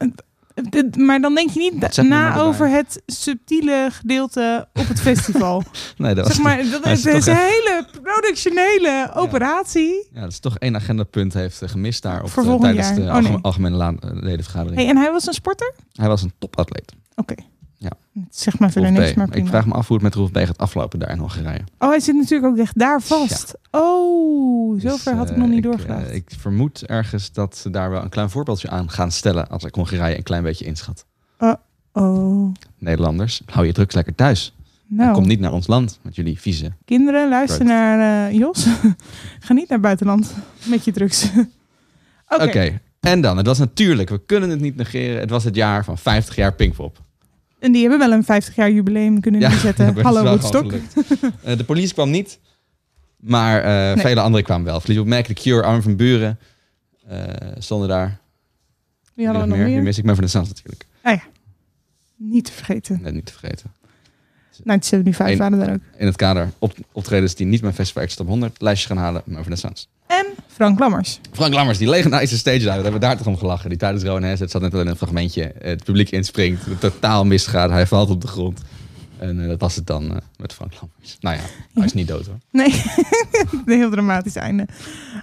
dit- maar dan denk je niet
Zet me maar
na
erbij.
over het subtiele gedeelte op het festival.
nee, dat was
zeg maar, dat
hij
is
is
een
toch echt-
hele productionele operatie.
Ja, dat is toch één agendapunt heeft eh, gemist daar op
Voor
de-
volgend
tijdens
jaar.
de
Oh,
algeme-
nee.
algemene laan- eh, ledenvergadering.
Hey, en hij was een sporter?
Hij was een topatleet.
Oké.
Ja.
Zeg maar verder
Roef B.
niks, maar
Ik
prima.
vraag me af hoe het met Roef B gaat aflopen daar in Hongarije.
Oh, hij zit natuurlijk ook echt daar vast. Oh,
Dus,
zover had ik
eh,
nog niet
eh,
doorgedacht.
ik vermoed ergens dat ze daar wel een klein voorbeeldje aan gaan stellen als ik Hongarije een klein beetje inschat.
oh,
Nederlanders, hou je drugs lekker thuis.
nou.
Kom niet naar ons land met jullie vieze.
Kinderen, luister
Right.
naar eh, Jos. Ga niet naar buitenland met je drugs. Oké.
Oké, en dan, het was natuurlijk, we kunnen het niet negeren, het was het jaar van 50 jaar Pinkpop.
En die hebben wel een 50 jaar jubileum kunnen
Ja,
inzetten.
maar dat
Hallo
is wel
Woodstock.
gewoon Eh, de police kwam niet, maar eh,
Nee.
vele anderen kwamen wel. Fleetwood Mac, The Cure, Arm van Buren eh, stonden daar.
Die hadden we nog
meer? Die
meer.
mis ik maar van de Sound natuurlijk.
Ah ja, niet te vergeten.
Net niet te vergeten.
1975
Eén-
waren er ook.
In het kader op, optredens die niet mijn Festival Extra 100 lijstje gaan halen, maar van de Sounds.
En Frank Lammers.
Frank Lammers, die legendarische stage dive, daar hebben we daar toch om gelachen. Die tijdens Rowan Hazard zat net alleen een fragmentje. eh, Het publiek inspringt, het totaal misgaat, hij valt op de grond. En eh, dat was het dan eh, met Frank Lammers. Nou ja, hij is niet dood hoor.
Nee, een heel dramatisch einde.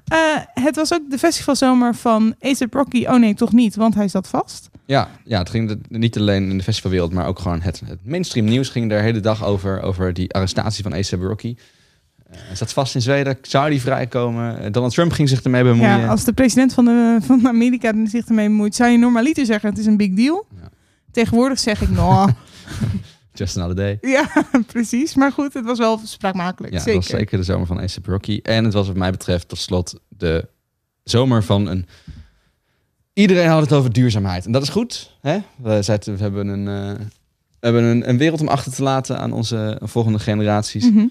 Eh, het was ook de festivalzomer van A$AP Rocky. Oh nee, toch niet, want hij zat vast.
Ja, ja het ging de- niet alleen in de festivalwereld, maar ook gewoon het, het mainstream nieuws ging daar de hele dag over. Over die arrestatie van A$AP Rocky. Eh, hij zat vast in Zweden, zou die vrijkomen? Eh, Donald Trump ging zich ermee bemoeien.
Ja, als de president van, de, van Amerika zich ermee bemoeit, zou je normaliter zeggen: het is een big deal. Tegenwoordig zeg ik, nou,
Just another day.
Ja, precies. Maar goed, het was wel spraakmakelijk.
Ja,
zeker.
dat was zeker de zomer van A$AP Rocky. En het was wat mij betreft tot slot de zomer van een... Iedereen had het over duurzaamheid. En dat is goed. Hè? We, zeiden, we hebben, een, eh, we hebben een, een wereld om achter te laten aan onze volgende generaties.
Mhm.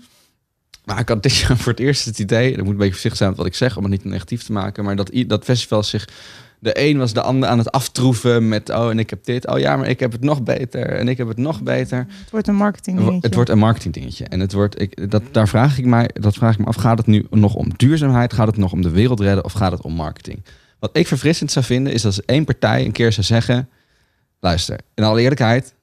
Maar ik had dit jaar voor het eerst het idee... en ik moet een beetje voorzichtig zijn met wat ik zeg... om het niet negatief te maken... maar dat, i- dat festivals zich... de een was de ander aan het aftroeven met... oh, en ik heb dit. Oh ja, maar ik heb het nog beter. En ik heb het nog beter.
Het wordt een marketing
Wo- Het wordt een marketingdingetje. En het wordt, ik, dat, daar vraag ik, mij, dat vraag ik me af, gaat het nu nog om duurzaamheid? Gaat het nog om de wereld redden? Of gaat het om marketing? Wat ik verfrissend zou vinden, is als één partij een keer zou zeggen... Luister, in alle eerlijkheid,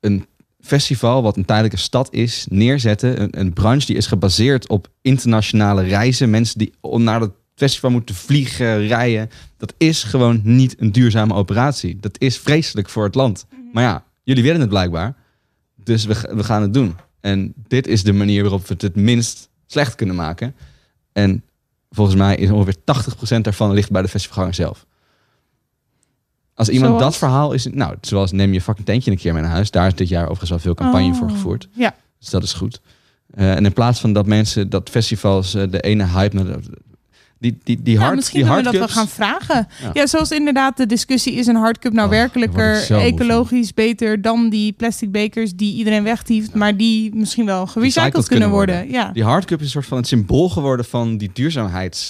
een festival wat een tijdelijke stad is, neerzetten. Een, een branche die is gebaseerd op internationale reizen. Mensen die om naar het festival moeten vliegen, rijden. Dat is gewoon niet een duurzame operatie. Dat is vreselijk voor het land. Maar ja, jullie willen het blijkbaar. Dus we, ga- we gaan het doen. En dit is de manier waarop we het het minst slecht kunnen maken. En volgens mij is ongeveer 80% daarvan ligt bij de festivalganger zelf. Als iemand
Zoals?
dat verhaal is... Nou, zoals neem je fucking tentje een keer mee naar huis. Daar is dit jaar overigens wel veel campagne
Oh.
voor gevoerd.
Ja.
Dus dat is goed. Eh, en in plaats van dat mensen, dat festivals eh, de ene hype... Naar de, Die, die, die
Ja,
hard,
Nou, misschien
die
kunnen we dat
hardcups-
wel gaan vragen.
Ja. Ah,
Ja. zoals inderdaad de discussie is een hardcup nou
daar word ik
werkelijker
zo moe van.
ecologisch beter dan die plastic bekers die iedereen wegtieft, maar die misschien wel gerecycled
recycled
kunnen worden. Ja.
Die hardcup is een soort van het symbool geworden van die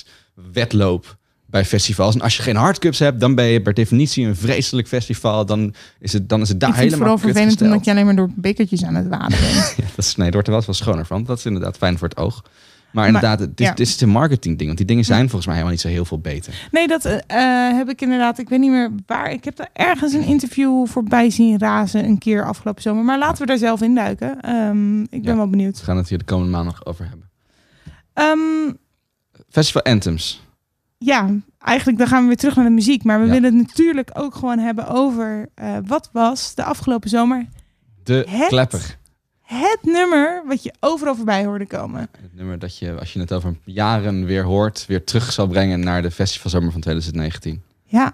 duurzaamheidswedloop bij festivals. En als je geen hardcups hebt, dan ben je per definitie een vreselijk festival. Dan is het, dan is het daar
ik vind het vooral
helemaal kut
vervelend
gesteld.
omdat je alleen maar door bekertjes aan het waden bent.
Ja, dat is, nee, het wordt er wel wat schoner van. Dat is inderdaad fijn voor het oog. Maar
Maar,
inderdaad, het is,
ja.
het is een marketing ding. Want die dingen zijn volgens mij helemaal niet zo heel veel beter.
Nee, dat eh, eh, heb ik inderdaad. Ik weet niet meer waar. Ik heb daar ergens een interview voorbij zien razen een keer afgelopen zomer. Maar laten we daar zelf in duiken. Ehm, ik ben wel benieuwd.
We gaan het hier de komende maand nog over hebben.
Ehm,
Festival Anthems.
ja, eigenlijk dan gaan we weer terug naar de muziek. Maar we
Ja.
willen het natuurlijk ook gewoon hebben over eh, wat was de afgelopen zomer
De
Het?
klepper.
het nummer wat je overal voorbij hoorde komen.
Het nummer dat je, als je het over jaren weer hoort, weer terug zal brengen naar de festivalzomer van 2019.
Ja.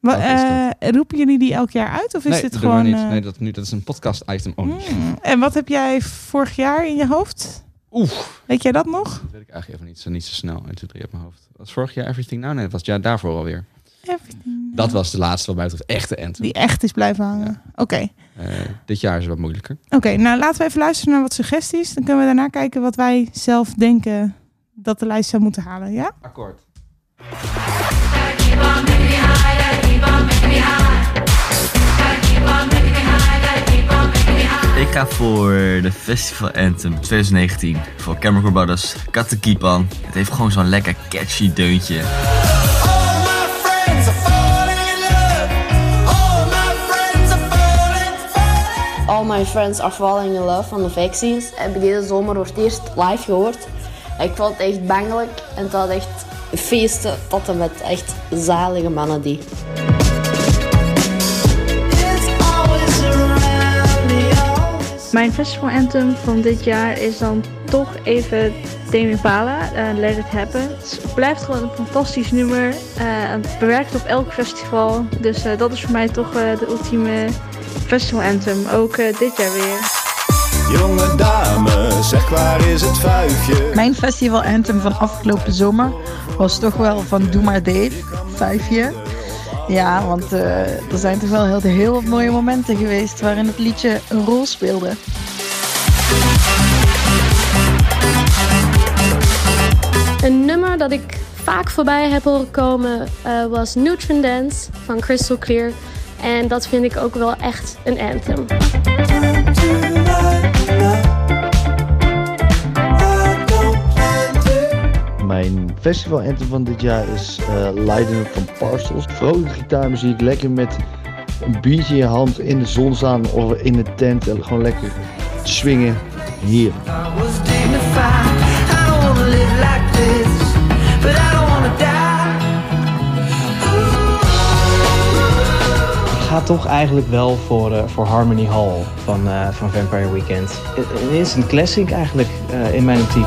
Wa-
Wat is
eh, roepen jullie die elk jaar uit? Of is
nee,
dit
dat doen we
gewoon...
niet.
eh,
Nee, dat, nu, dat is een podcast-item. Oh, dat
mm. En wat heb jij vorig jaar in je hoofd?
Oef.
Weet jij dat nog?
weet ik eigenlijk even niet zo, niet zo snel. 1, 2, 3 op mijn hoofd. Was vorig jaar Everything Now? Nee, dat was het jaar daarvoor alweer. Dat was de laatste wat mij betreft echte anthem.
Hmm. Die echt is blijven hangen. Oké.
Eh, dit jaar is het wat moeilijker.
Oké, nou laten we even luisteren naar wat suggesties. Dan kunnen we daarna kijken wat wij zelf denken dat de lijst zou moeten halen, ja?
Akkoord.
Ik ga voor de Festival Anthem 2019 voor Cameron Corbadas, Katakipan. Het heeft gewoon zo'n lekker catchy deuntje.
All My Friends Are Falling In Love van de Vaccines heb ik deze zomer voor het eerst live gehoord. Ik vond het echt bangelijk en het had echt feesten tot en met echt zalige mannen die.
Mijn festival anthem van dit jaar is dan toch even Tame Impala, eh, Let It Happen. Het blijft gewoon een fantastisch nummer, eh, het bewerkt op elk festival. Dus eh, dat is voor mij toch eh, de ultieme festival anthem, ook eh, dit jaar weer.
Jonge dame, zeg waar is het vuifje?
Mijn festival anthem van afgelopen zomer was toch wel van Doe maar Dave, vijfje. Ja, want eh, er zijn toch wel heel, heel wat mooie momenten geweest waarin het liedje een rol speelde.
Een nummer dat ik vaak voorbij heb horen komen eh, was Nutrient Dance van Crystal Clear. En dat vind ik ook wel echt een anthem.
Mijn festival anthem van dit jaar is eh Leiden van Parcels. Vrolijke gitaarmuziek, lekker met een biertje in je hand in de zon staan of in de tent en gewoon lekker swingen. Hier.
I don't wanna live like this, but I don't wanna die.
Ik ga toch eigenlijk wel voor, eh, voor Harmony Hall van, eh, van Vampire Weekend. Het het is een classic eigenlijk eh, in mijn optiek.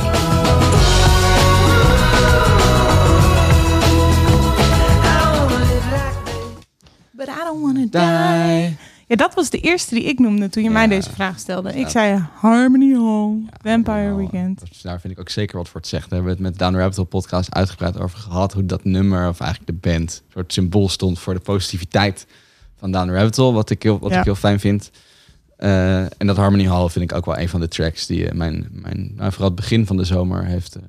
But I don't wanna die. Ja, dat was de eerste die ik noemde toen je mij deze vraag stelde. Ik zei eh, Harmony Hall, Vampire Weekend.
Dus daar vind ik ook zeker wat voor te zeggen. Daar hebben we het met Down the Rabbit Hole podcast uitgebreid over gehad. Hoe dat nummer, of eigenlijk de band, een soort symbool stond voor de positiviteit van Down the Rabbit Hole. Wat ik heel, wat
Ja.
ik heel fijn vind. Eh, en dat Harmony Hall vind ik ook wel een van de tracks die eh, mijn, mijn nou, vooral het begin van de zomer heeft eh,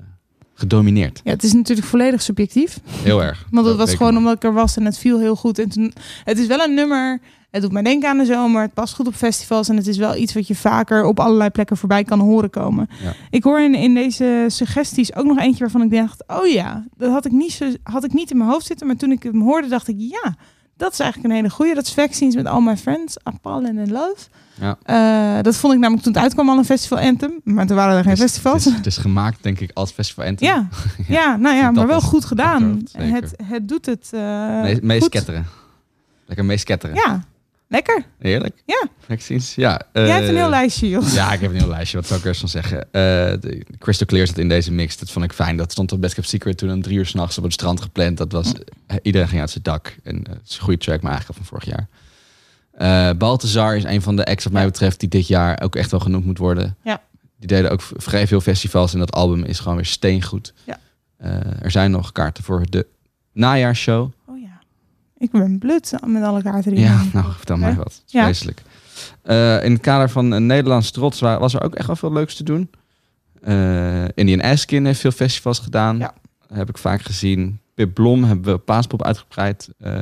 gedomineerd.
Ja, het is natuurlijk volledig subjectief.
Heel erg.
Want
Dat
het was
weet ik
gewoon omdat ik er was en het viel heel goed. En toen, het is wel een nummer, het doet mij denken aan de zomer. Het past goed op festivals en het is wel iets wat je vaker op allerlei plekken voorbij kan horen komen.
Ja.
Ik hoor in, in deze suggesties ook nog eentje waarvan ik dacht... oh ja, dat had ik, niet zo, had ik niet in mijn hoofd zitten. Maar toen ik hem hoorde, dacht ik ja, dat is eigenlijk een hele goeie. Dat is Vaccines met All My Friends, Apal en In Love.
Ja.
Eh, dat vond ik namelijk toen het uitkwam al een festival anthem. Maar toen waren er geen festivals.
Het is, het is gemaakt denk ik als festival anthem.
Ja, ja, nou ja,
Dat
maar wel
is-
goed gedaan.
zeker.
Het, het doet het eh
Mee-
goed.
Meesketteren. Lekker meesketteren.
Ja, lekker.
Heerlijk.
Ja.
Vaccines. Ja.
Jij
eh,
hebt een heel lijstje, joh.
Ja, ik heb een heel lijstje. Wat zou ik eerst van zeggen? Eh, de Crystal Clear zat in deze mix. Dat vond ik fijn. Dat stond op Best Kept Secret toen om drie uur s'nachts op het strand gepland. Dat was, eh, iedereen ging uit zijn dak. En eh, het is een goede track, maar eigenlijk van vorig jaar. Eh Balthazar is een van de acts wat mij betreft die dit jaar ook echt wel genoemd moet worden.
Ja.
Die deden ook v- vrij veel festivals en dat album is gewoon weer steengoed.
Ja.
Eh, er zijn nog kaarten voor de najaarsshow.
Oh Ik ben blut met alle kaarten die
Ja,
ik-
nou, vertel mij
Hè?
wat. Het is
Ja.
Vreselijk. Eh, in het kader van een Nederlands trots wa- was er ook echt wel veel leuks te doen. Eh, Indian Askin heeft veel festivals gedaan. Heb ik vaak gezien. Pip Blom hebben we Paaspop uitgebreid eh,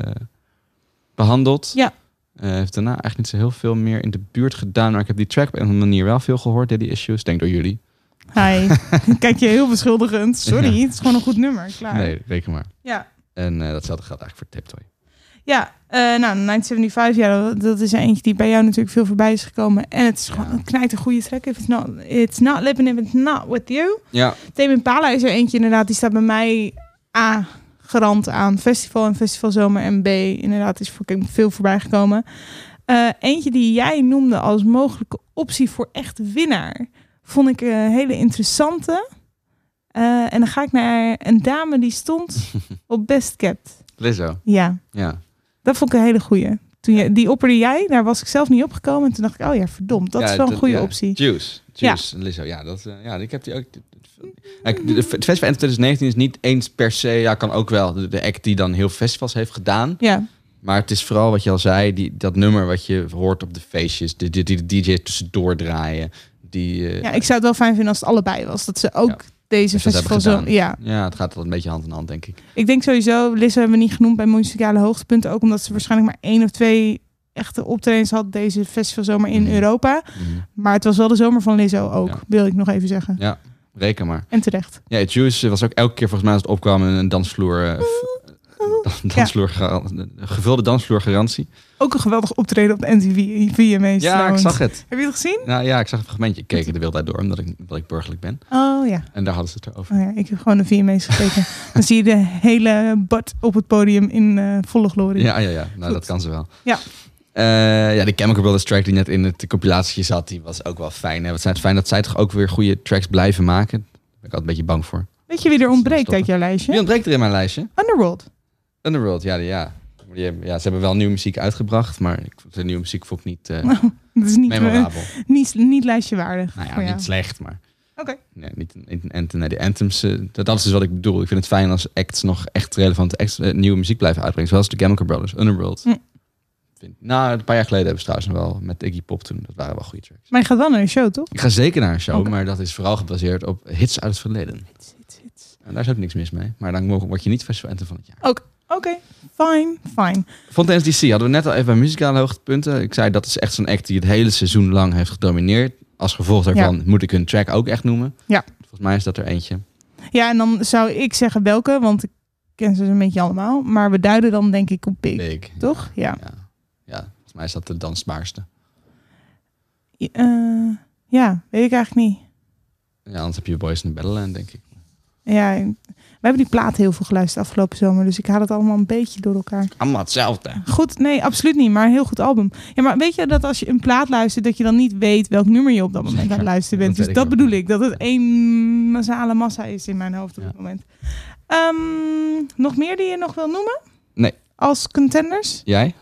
behandeld.
Ja.
Eh, heeft daarna eigenlijk niet zo heel veel meer in de buurt gedaan. Maar ik heb die track op een of andere manier wel veel gehoord. Daddy Issues, denk door jullie.
Hi. Kijk je heel beschuldigend. Sorry, het is gewoon een goed nummer. Klaar.
Nee, reken maar.
Ja.
En eh, datzelfde geldt eigenlijk voor Tiptoy.
Ja, eh, nou, 975, ja, dat- dat is eentje die bij jou natuurlijk veel voorbij is gekomen. En het is gewoon het knijt een goede track. If it's not, it's not living, if it's not with you.
Ja.
Tame Impala is er eentje inderdaad, die staat bij mij A, gerand aan festival en festivalzomer. En B, inderdaad, is voor, veel voorbij gekomen. Eh, eentje die jij noemde als mogelijke optie voor echt winnaar, vond ik een hele interessante. Eh, en dan ga ik naar een dame die stond op Best Kept.
Lizzo.
Ja.
Ja.
Dat vond ik een hele goeie. Toen je, die opperde jij, daar was ik zelf niet opgekomen. En toen dacht ik, oh ja, verdomd, dat
Ja,
is wel een goede
ja.
optie.
Juice. Juice. en Lizzo. Ja, dat, eh, ja, ik heb die ook. Kijk, de- de- Het festival Enter 2019 is niet eens per se, ja, kan ook wel. De, de act die dan heel veel festivals heeft gedaan.
Ja.
Maar het is vooral wat je al zei, die, dat nummer wat je hoort op de feestjes, die de, die de DJ tussendoor draaien. Die, eh,
Ja, ik zou het wel fijn vinden als het allebei was. Dat ze ook deze
Dus dat hebben
festival zo...
gedaan.
Ja.
ja, het gaat wel een beetje hand in hand, denk ik.
Ik denk sowieso, Lisse hebben we niet genoemd bij muzikale hoogtepunten. Ook omdat ze waarschijnlijk maar één of twee echte optredens had deze festivalzomer
Mhm.
in Europa. Maar het was wel de zomer van Lizzo ook, wil ik nog even zeggen.
Ja, reken maar.
En terecht.
Ja, Juice was ook elke keer volgens mij als het opkwam een een dansvloer, eh, v- dan- dansvloer gar- een gevulde dansvloer garantie.
Ook een geweldig optreden op de NTV VMA's.
Ja, ik
trouwens.
zag het.
Heb je het gezien?
Nou ja, ik zag het fragmentje. Ik keek er de wereld uit door, omdat ik, omdat ik burgerlijk ben.
Oh ja.
En daar hadden ze het erover.
Oh ja, ik heb gewoon een VMA's gekeken. Dan zie je de hele bad op het podium in eh, volle glorie.
Ja, ja, ja. Nou, dat kan ze wel.
Ja.
Eh, ja, de Chemical Brothers track die net in het compilatietje zat, die was ook wel fijn. Hè? Wat zijn het fijn dat zij toch ook weer goede tracks blijven maken. Daar ben ik altijd een beetje bang voor.
Weet je wie er ontbreekt uit jouw lijstje?
Wie ontbreekt er in mijn lijstje?
Underworld.
Underworld, ja, die- ja. Die hebben- ja. Ze hebben wel nieuwe muziek uitgebracht, maar ik vond de nieuwe muziek vond ik niet eh,
Nou, dat is niet,
memorabel.
eh, niet, niet lijstje waardig.
Nou ja,
voor jou.
niet slecht, maar...
Oké.
Nee, niet een- niet een anthem. Nee, die anthems, eh, dat, dat is dus wat ik bedoel. Ik vind het fijn als acts nog echt relevante acts, eh, nieuwe muziek blijven uitbrengen. Zoals de Chemical Brothers, Underworld.
Hm.
Vind- nou, een paar jaar geleden hebben ze trouwens nog wel met Iggy Pop toen. Dat waren wel goede tracks.
Maar je gaat wel naar een show, toch?
Ik ga zeker naar een show,
Oké.
maar dat is vooral gebaseerd op hits uit het verleden. En daar is ook niks mis mee. Maar dan mogen- word je niet festival anthem van het jaar.
Ook. Oké, fijn, fijn.
Fontaine's DC hadden we net al even bij muzikale hoogtepunten. Ik zei dat is echt zo'n act die het hele seizoen lang heeft gedomineerd. Als gevolg daarvan
Ja.
moet ik hun track ook echt noemen.
Ja.
Volgens mij is dat er eentje.
Ja, en dan zou ik zeggen welke, want ik ken ze dus een beetje allemaal. Maar we duiden dan denk ik op Big.
Big,
Toch? Ja. Ja.
Ja, volgens mij is dat de dansbaarste.
Ja, eh, weet ik eigenlijk niet.
Ja, anders heb je Boys in the Battleland, denk ik.
Ja, ik- we hebben die plaat heel veel geluisterd afgelopen zomer. Dus ik haal het allemaal een beetje door elkaar.
Allemaal hetzelfde.
Goed, nee, absoluut niet. Maar een heel goed album. Ja, maar weet je dat als je een plaat luistert, dat je dan niet weet welk nummer je op dat moment aan het luisteren bent. dus
dat weet
dat
ik
bedoel ik. Dat het één massale massa is in mijn hoofd op het moment. Ehm, nog meer die je nog wil noemen?
Nee.
Als contenders?
Jij?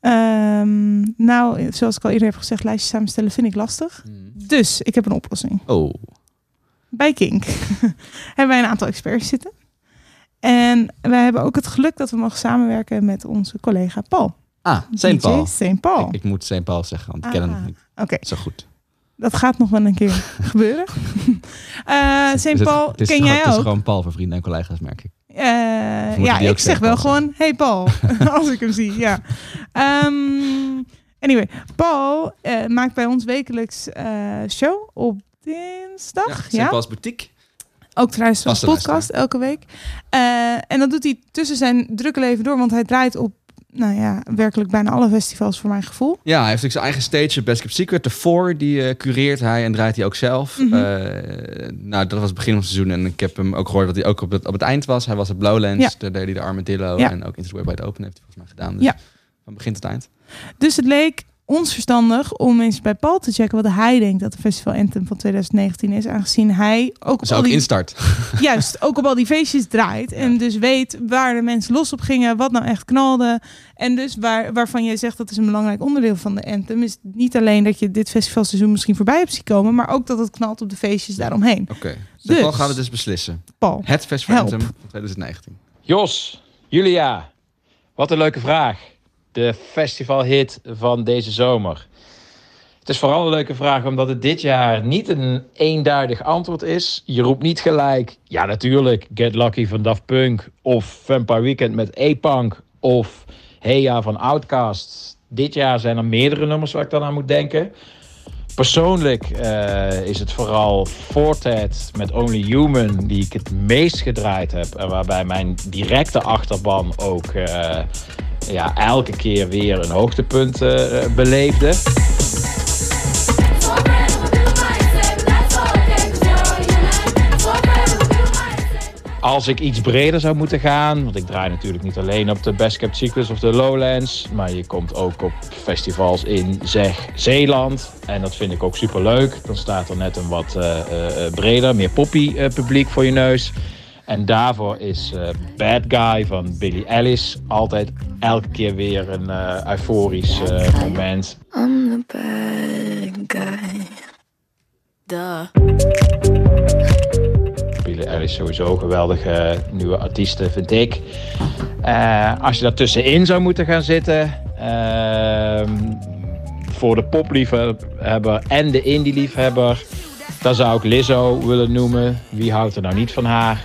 Ehm, nou, zoals ik al eerder heb gezegd, lijstjes samenstellen vind ik lastig.
Mm.
Dus ik heb een oplossing.
Oh.
Bij Kink hebben wij een aantal experts zitten. En wij hebben ook het geluk dat we mogen samenwerken met onze collega Paul.
Ah,
DJ
St. Paul. Oh.
St. Paul.
Ik, ik moet St. Paul zeggen, want ik ken hem
Ah,
niet
oké.
zo goed.
Dat gaat nog wel een keer gebeuren. Eh
Is
St.
het-
Paul,
het is
ken
gewoon-
jij
Het is
ook?
gewoon Paul voor vrienden en collega's, merk ik.
Eh,
moeten
ja,
die ook
ik zeg
St.
wel
Paul
gewoon, hey Paul, als ik hem zie. Ja. Ehm, anyway, Paul eh, maakt bij ons wekelijks eh, show op dinsdag.
St.
Ja,
Paul's Boutique.
Ook trouwens een
Vaste
podcast elke week. Eh, en dat doet hij tussen zijn drukke leven door, want hij draait op, nou ja, werkelijk bijna alle festivals voor mijn gevoel.
Ja, hij heeft ook zijn eigen stage, Best Kept Secret. De Four, die eh, cureert hij en draait hij ook zelf.
Mhm.
Eh, nou, dat was het begin van het seizoen. En ik heb hem ook gehoord dat hij ook op het, op het eind was. Hij was op Blauwlands,
Ja.
daar deed hij de Armadillo.
Ja.
En ook Into the Web Wide Open heeft hij volgens mij gedaan. Dus
Ja.
van begin tot eind.
Dus het leek ons verstandig om eens bij Paul te checken wat hij denkt dat de Festival Anthem van 2019 is. Aangezien hij ook op
Ze
al
Dus ook
die,
instart.
juist, ook op al die feestjes draait. En dus weet waar de mensen los op gingen, wat nou echt knalde. En dus waar, waarvan jij zegt dat is een belangrijk onderdeel van de Anthem. Is niet alleen dat je dit festivalseizoen misschien voorbij hebt zien komen, maar ook dat het knalt op de feestjes daaromheen.
Oké,
Dus-
dus Paul gaan we dus beslissen.
Paul,
Het Festival
help.
Anthem van 2019.
Jos, Julia, wat een leuke vraag. De festivalhit van deze zomer. Het is vooral een leuke vraag omdat het dit jaar niet een eenduidig antwoord is. Je roept niet gelijk, ja natuurlijk, Get Lucky van Daft Punk... of Vampire Weekend met A-Punk of Heya van Outkast. Dit jaar zijn er meerdere nummers waar ik dan aan moet denken. Persoonlijk eh, is het vooral Fortet met Only Human die ik het meest gedraaid heb. En waarbij mijn directe achterban ook eh, ja, elke keer weer een hoogtepunt eh, eh, beleefde. Als ik iets breder zou moeten gaan, want ik draai natuurlijk niet alleen op de Best Kept Secrets of de Lowlands, maar je komt ook op festivals in zeg Zeeland. En dat vind ik ook super leuk. Dan staat er net een wat eh, eh, eh, breder, meer poppy eh, publiek voor je neus. En daarvoor is eh, Bad Guy van Billy Ellis altijd elke keer weer een eh, euforisch eh, moment.
I'm the bad guy. Duh.
Billie Eilish sowieso een geweldige nieuwe artiesten, vind ik. Eh, als je daartussenin zou moeten gaan zitten... ehm, voor de popliefhebber en de indie-liefhebber... dan zou ik Lizzo willen noemen. Wie houdt er nou niet van haar?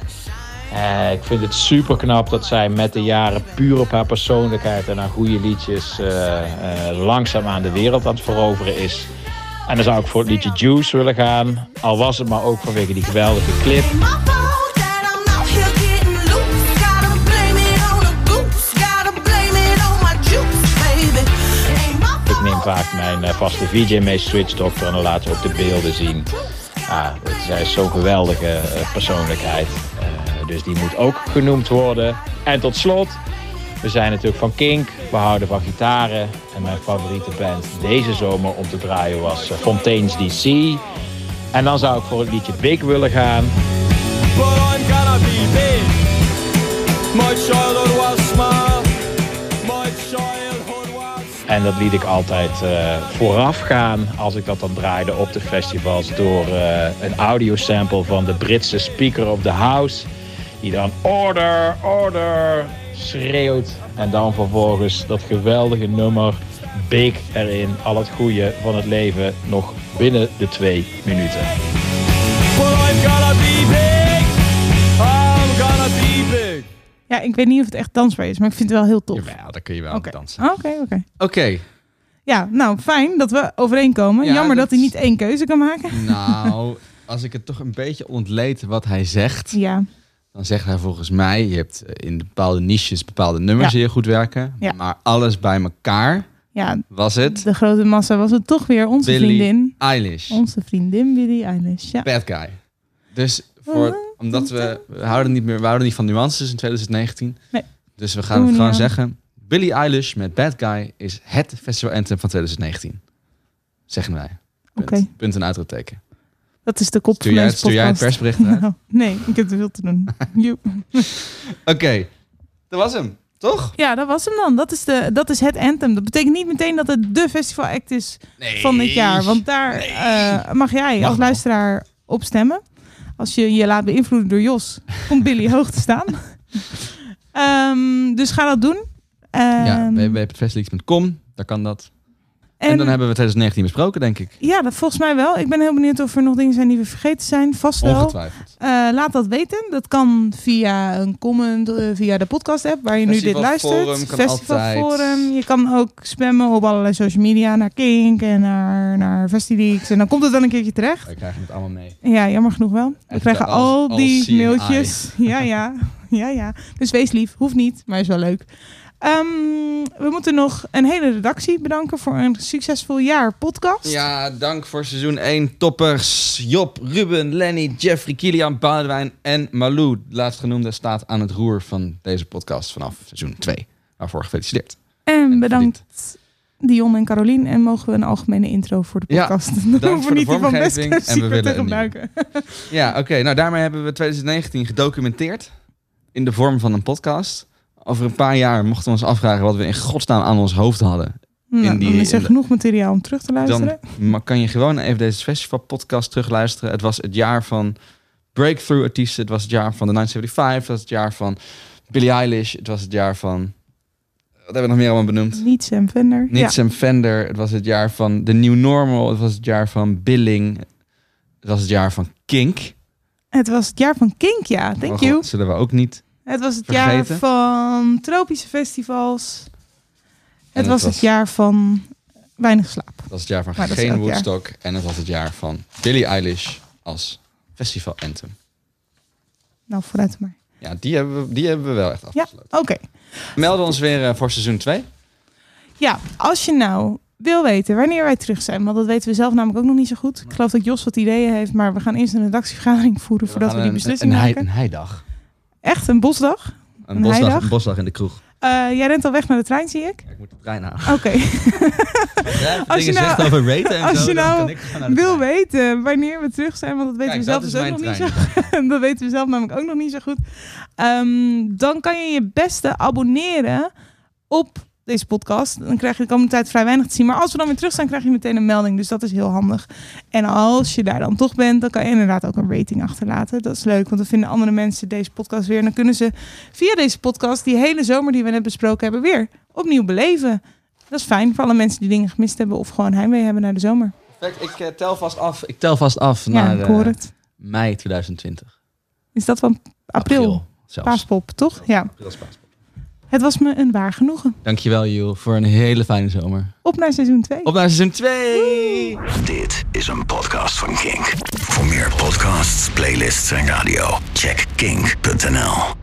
Eh, ik vind het super knap dat zij met de jaren puur op haar persoonlijkheid en haar goede liedjes eh, eh, langzaam aan de wereld aan het veroveren is. En dan zou ik voor het liedje Juice willen gaan. Al was het maar ook vanwege die geweldige clip. Ik neem vaak mijn eh, vaste VJ mee, Switchdokter, en dan laten we ook de beelden zien. Ah, het- zij is zo'n geweldige eh, persoonlijkheid. Eh, dus die moet ook genoemd worden. En tot slot, we zijn natuurlijk van Kink, we houden van gitaren. En mijn favoriete band deze zomer om te draaien was eh, Fontaines DC. En dan zou ik voor het liedje Big willen gaan.
But I'm gonna be big. My childhood was small. My childhood was.
En dat liet ik altijd eh, vooraf gaan als ik dat dan draaide op de festivals door eh, een audiosample van de Britse speaker op de house. Die dan order, order schreeuwt. En dan vervolgens dat geweldige nummer Big erin. Al het goede van het leven nog binnen de twee
But
minuten.
I'm gonna be big. I'm gonna be big.
Ja, ik weet niet of het echt dansbaar is, maar ik vind het wel heel tof.
Ja, daar kun je wel
Oké, Ah,
aan dansen.
oké. oké.
Oké,
Ja, nou fijn dat we overeenkomen.
Ja,
Jammer dat...
dat-
hij niet één keuze kan maken.
nou, als ik het toch een beetje ontleed wat hij zegt...
ja,
dan zegt hij volgens mij... je hebt eh, in bepaalde niches bepaalde nummers
Ja.
die heel goed werken...
Ja.
maar alles bij elkaar
ja,
was het...
de grote massa was het toch weer onze
Billie
vriendin.
Eilish.
Onze vriendin Billie Eilish. Ja.
Bad guy. Dus voor, omdat we, we, houden niet meer, we houden niet van nuances in 2019.
Nee.
Dus we
Doen
gaan
we
het gewoon
niet aan.
zeggen. Billie Eilish met Bad Guy is het festival anthem van 2019. Zeggen wij. Punt,
Oké.
punt en uitroepteken.
Dat is de kop
Stuur
van
jij-
deze
stuur jij het
podcast.
persbericht uit?
Nou, nee, ik heb te veel te doen. Joep.
Oké, dat was hem. Toch?
ja, dat was hem dan. Dat is, de, dat is het anthem. Dat betekent niet meteen dat het de festivalact is van dit jaar. Want daar eh, mag jij als luisteraar op stemmen. Als je je laat beïnvloeden door Jos, komt Billy hoog te staan. Ehm, dus ga dat doen. Ehm,
ja, www.festileaks.com, daar kan dat. En,
En-
dan hebben we 2019 besproken, denk ik.
Ja, dat volgens mij wel. Ik ben heel benieuwd of er nog dingen zijn die we vergeten zijn. Vast wel.
Ongetwijfeld.
Eh, laat dat weten. Dat kan via een comment, eh, via de podcast-app waar je nu dit
Festivalforum
luistert.
kan
Festivalforum. Je kan ook spammen op allerlei social media naar Kink en naar, naar Festileaks. En dan komt het wel een keertje terecht.
Wij krijgen het allemaal mee.
Ja, jammer genoeg wel. We
Echt,
krijgen
eh,
al,
als- als
die
seeing
mailtjes. Ja, ja. Ja, ja. Dus wees lief. Hoeft niet, maar is wel leuk. Ehm, we moeten nog een hele redactie bedanken voor een succesvol jaar podcast.
Ja, dank voor seizoen 1. Toppers Job, Ruben, Lenny, Jeffrey, Kilian, Boudewijn en Malou. De laatstgenoemde staat aan het roer van deze podcast vanaf seizoen 2. Waarvoor gefeliciteerd.
En bedankt Dion en Carolien. En mogen we een algemene intro voor de
Ja,
podcast?
dank
Dan
voor
hoeven
de
we niet die van best
vormgeving en we
Secret
willen
te
een nieuwe.
gebruiken.
Ja, oké. Nou, daarmee hebben we 2019 gedocumenteerd in de vorm van een podcast. Over een paar jaar mochten we ons afvragen wat we in godsnaam aan ons hoofd hadden.
Nou,
in die,
dan is er
in de-
genoeg materiaal om terug te luisteren.
dan ma- kan je gewoon even deze festivalpodcast terugluisteren. Het was het jaar van breakthrough artiesten. Het was het jaar van de 975. Het was het jaar van Billie Eilish. Het was het jaar van... Wat hebben we nog meer allemaal benoemd?
Niet Sam Vender.
Niet
ja.
Sam Fender. Het was het jaar van The New Normal. Het was het jaar van Billing. Het was het jaar van Kink.
Het was het jaar van Kink, ja. Thank
Oh
you.
god, Zullen we ook niet.
Het was het
Vergeten.
jaar van tropische festivals. Het
het
was het
was-
jaar van weinig slaap.
Dat was het jaar van
Maar dat is
geen
elk jaar.
Woodstock. En het was het jaar van Billie Eilish als festival anthem.
Nou, vooruit maar.
Ja, die hebben we, die hebben we wel echt af.
Ja, oké.
Melden ons weer eh, voor seizoen 2.
Ja, als je nou wil weten wanneer wij terug zijn, want dat weten we zelf namelijk ook nog niet zo goed. Ik geloof dat Jos wat ideeën heeft, maar we gaan eerst een redactievergadering voeren voordat we,
gaan
die
een-
beslissing
een hei-
maken.
een heidag.
Echt, een bosdag?
Een, bosdag,
heidag?
een bosdag in de kroeg.
Eh, jij rent al weg naar de trein, zie ik.
Ik moet de trein aan.
Oké.
dingen nou- zegt over raten en
nou- als
zo,
je
dan
nou
kan ik gewoon naar de
wil weten wanneer we terug zijn, want dat weten
Kijk,
we zelf
dat
dus
is
ook nog
mijn
niet zo. dat weten we zelf namelijk ook nog niet zo goed. Ehm, dan kan je je beste abonneren op deze podcast. Dan krijg je de komende tijd vrij weinig te zien. Maar als we dan weer terug zijn, krijg je meteen een melding. Dus dat is heel handig. En als je daar dan toch bent, dan kan je inderdaad ook een rating achterlaten. Dat is leuk, want dan vinden andere mensen deze podcast weer. En dan kunnen ze via deze podcast die hele zomer die we net besproken hebben, weer opnieuw beleven. Dat is fijn voor alle mensen die dingen gemist hebben of gewoon heimwee hebben naar de zomer.
Perfect, ik eh, tel vast af. Ik tel vast af naar
ik hoor
eh,
het.
mei 2020.
Is dat van april?
zelfs.
Paaspop, toch? Ja. Het was me een waar genoegen.
Dankjewel, Jules, voor een hele fijne zomer.
Op naar seizoen 2.
Op naar seizoen 2!
Dit is een podcast van Kink. Voor meer podcasts, playlists en radio, check kink.nl.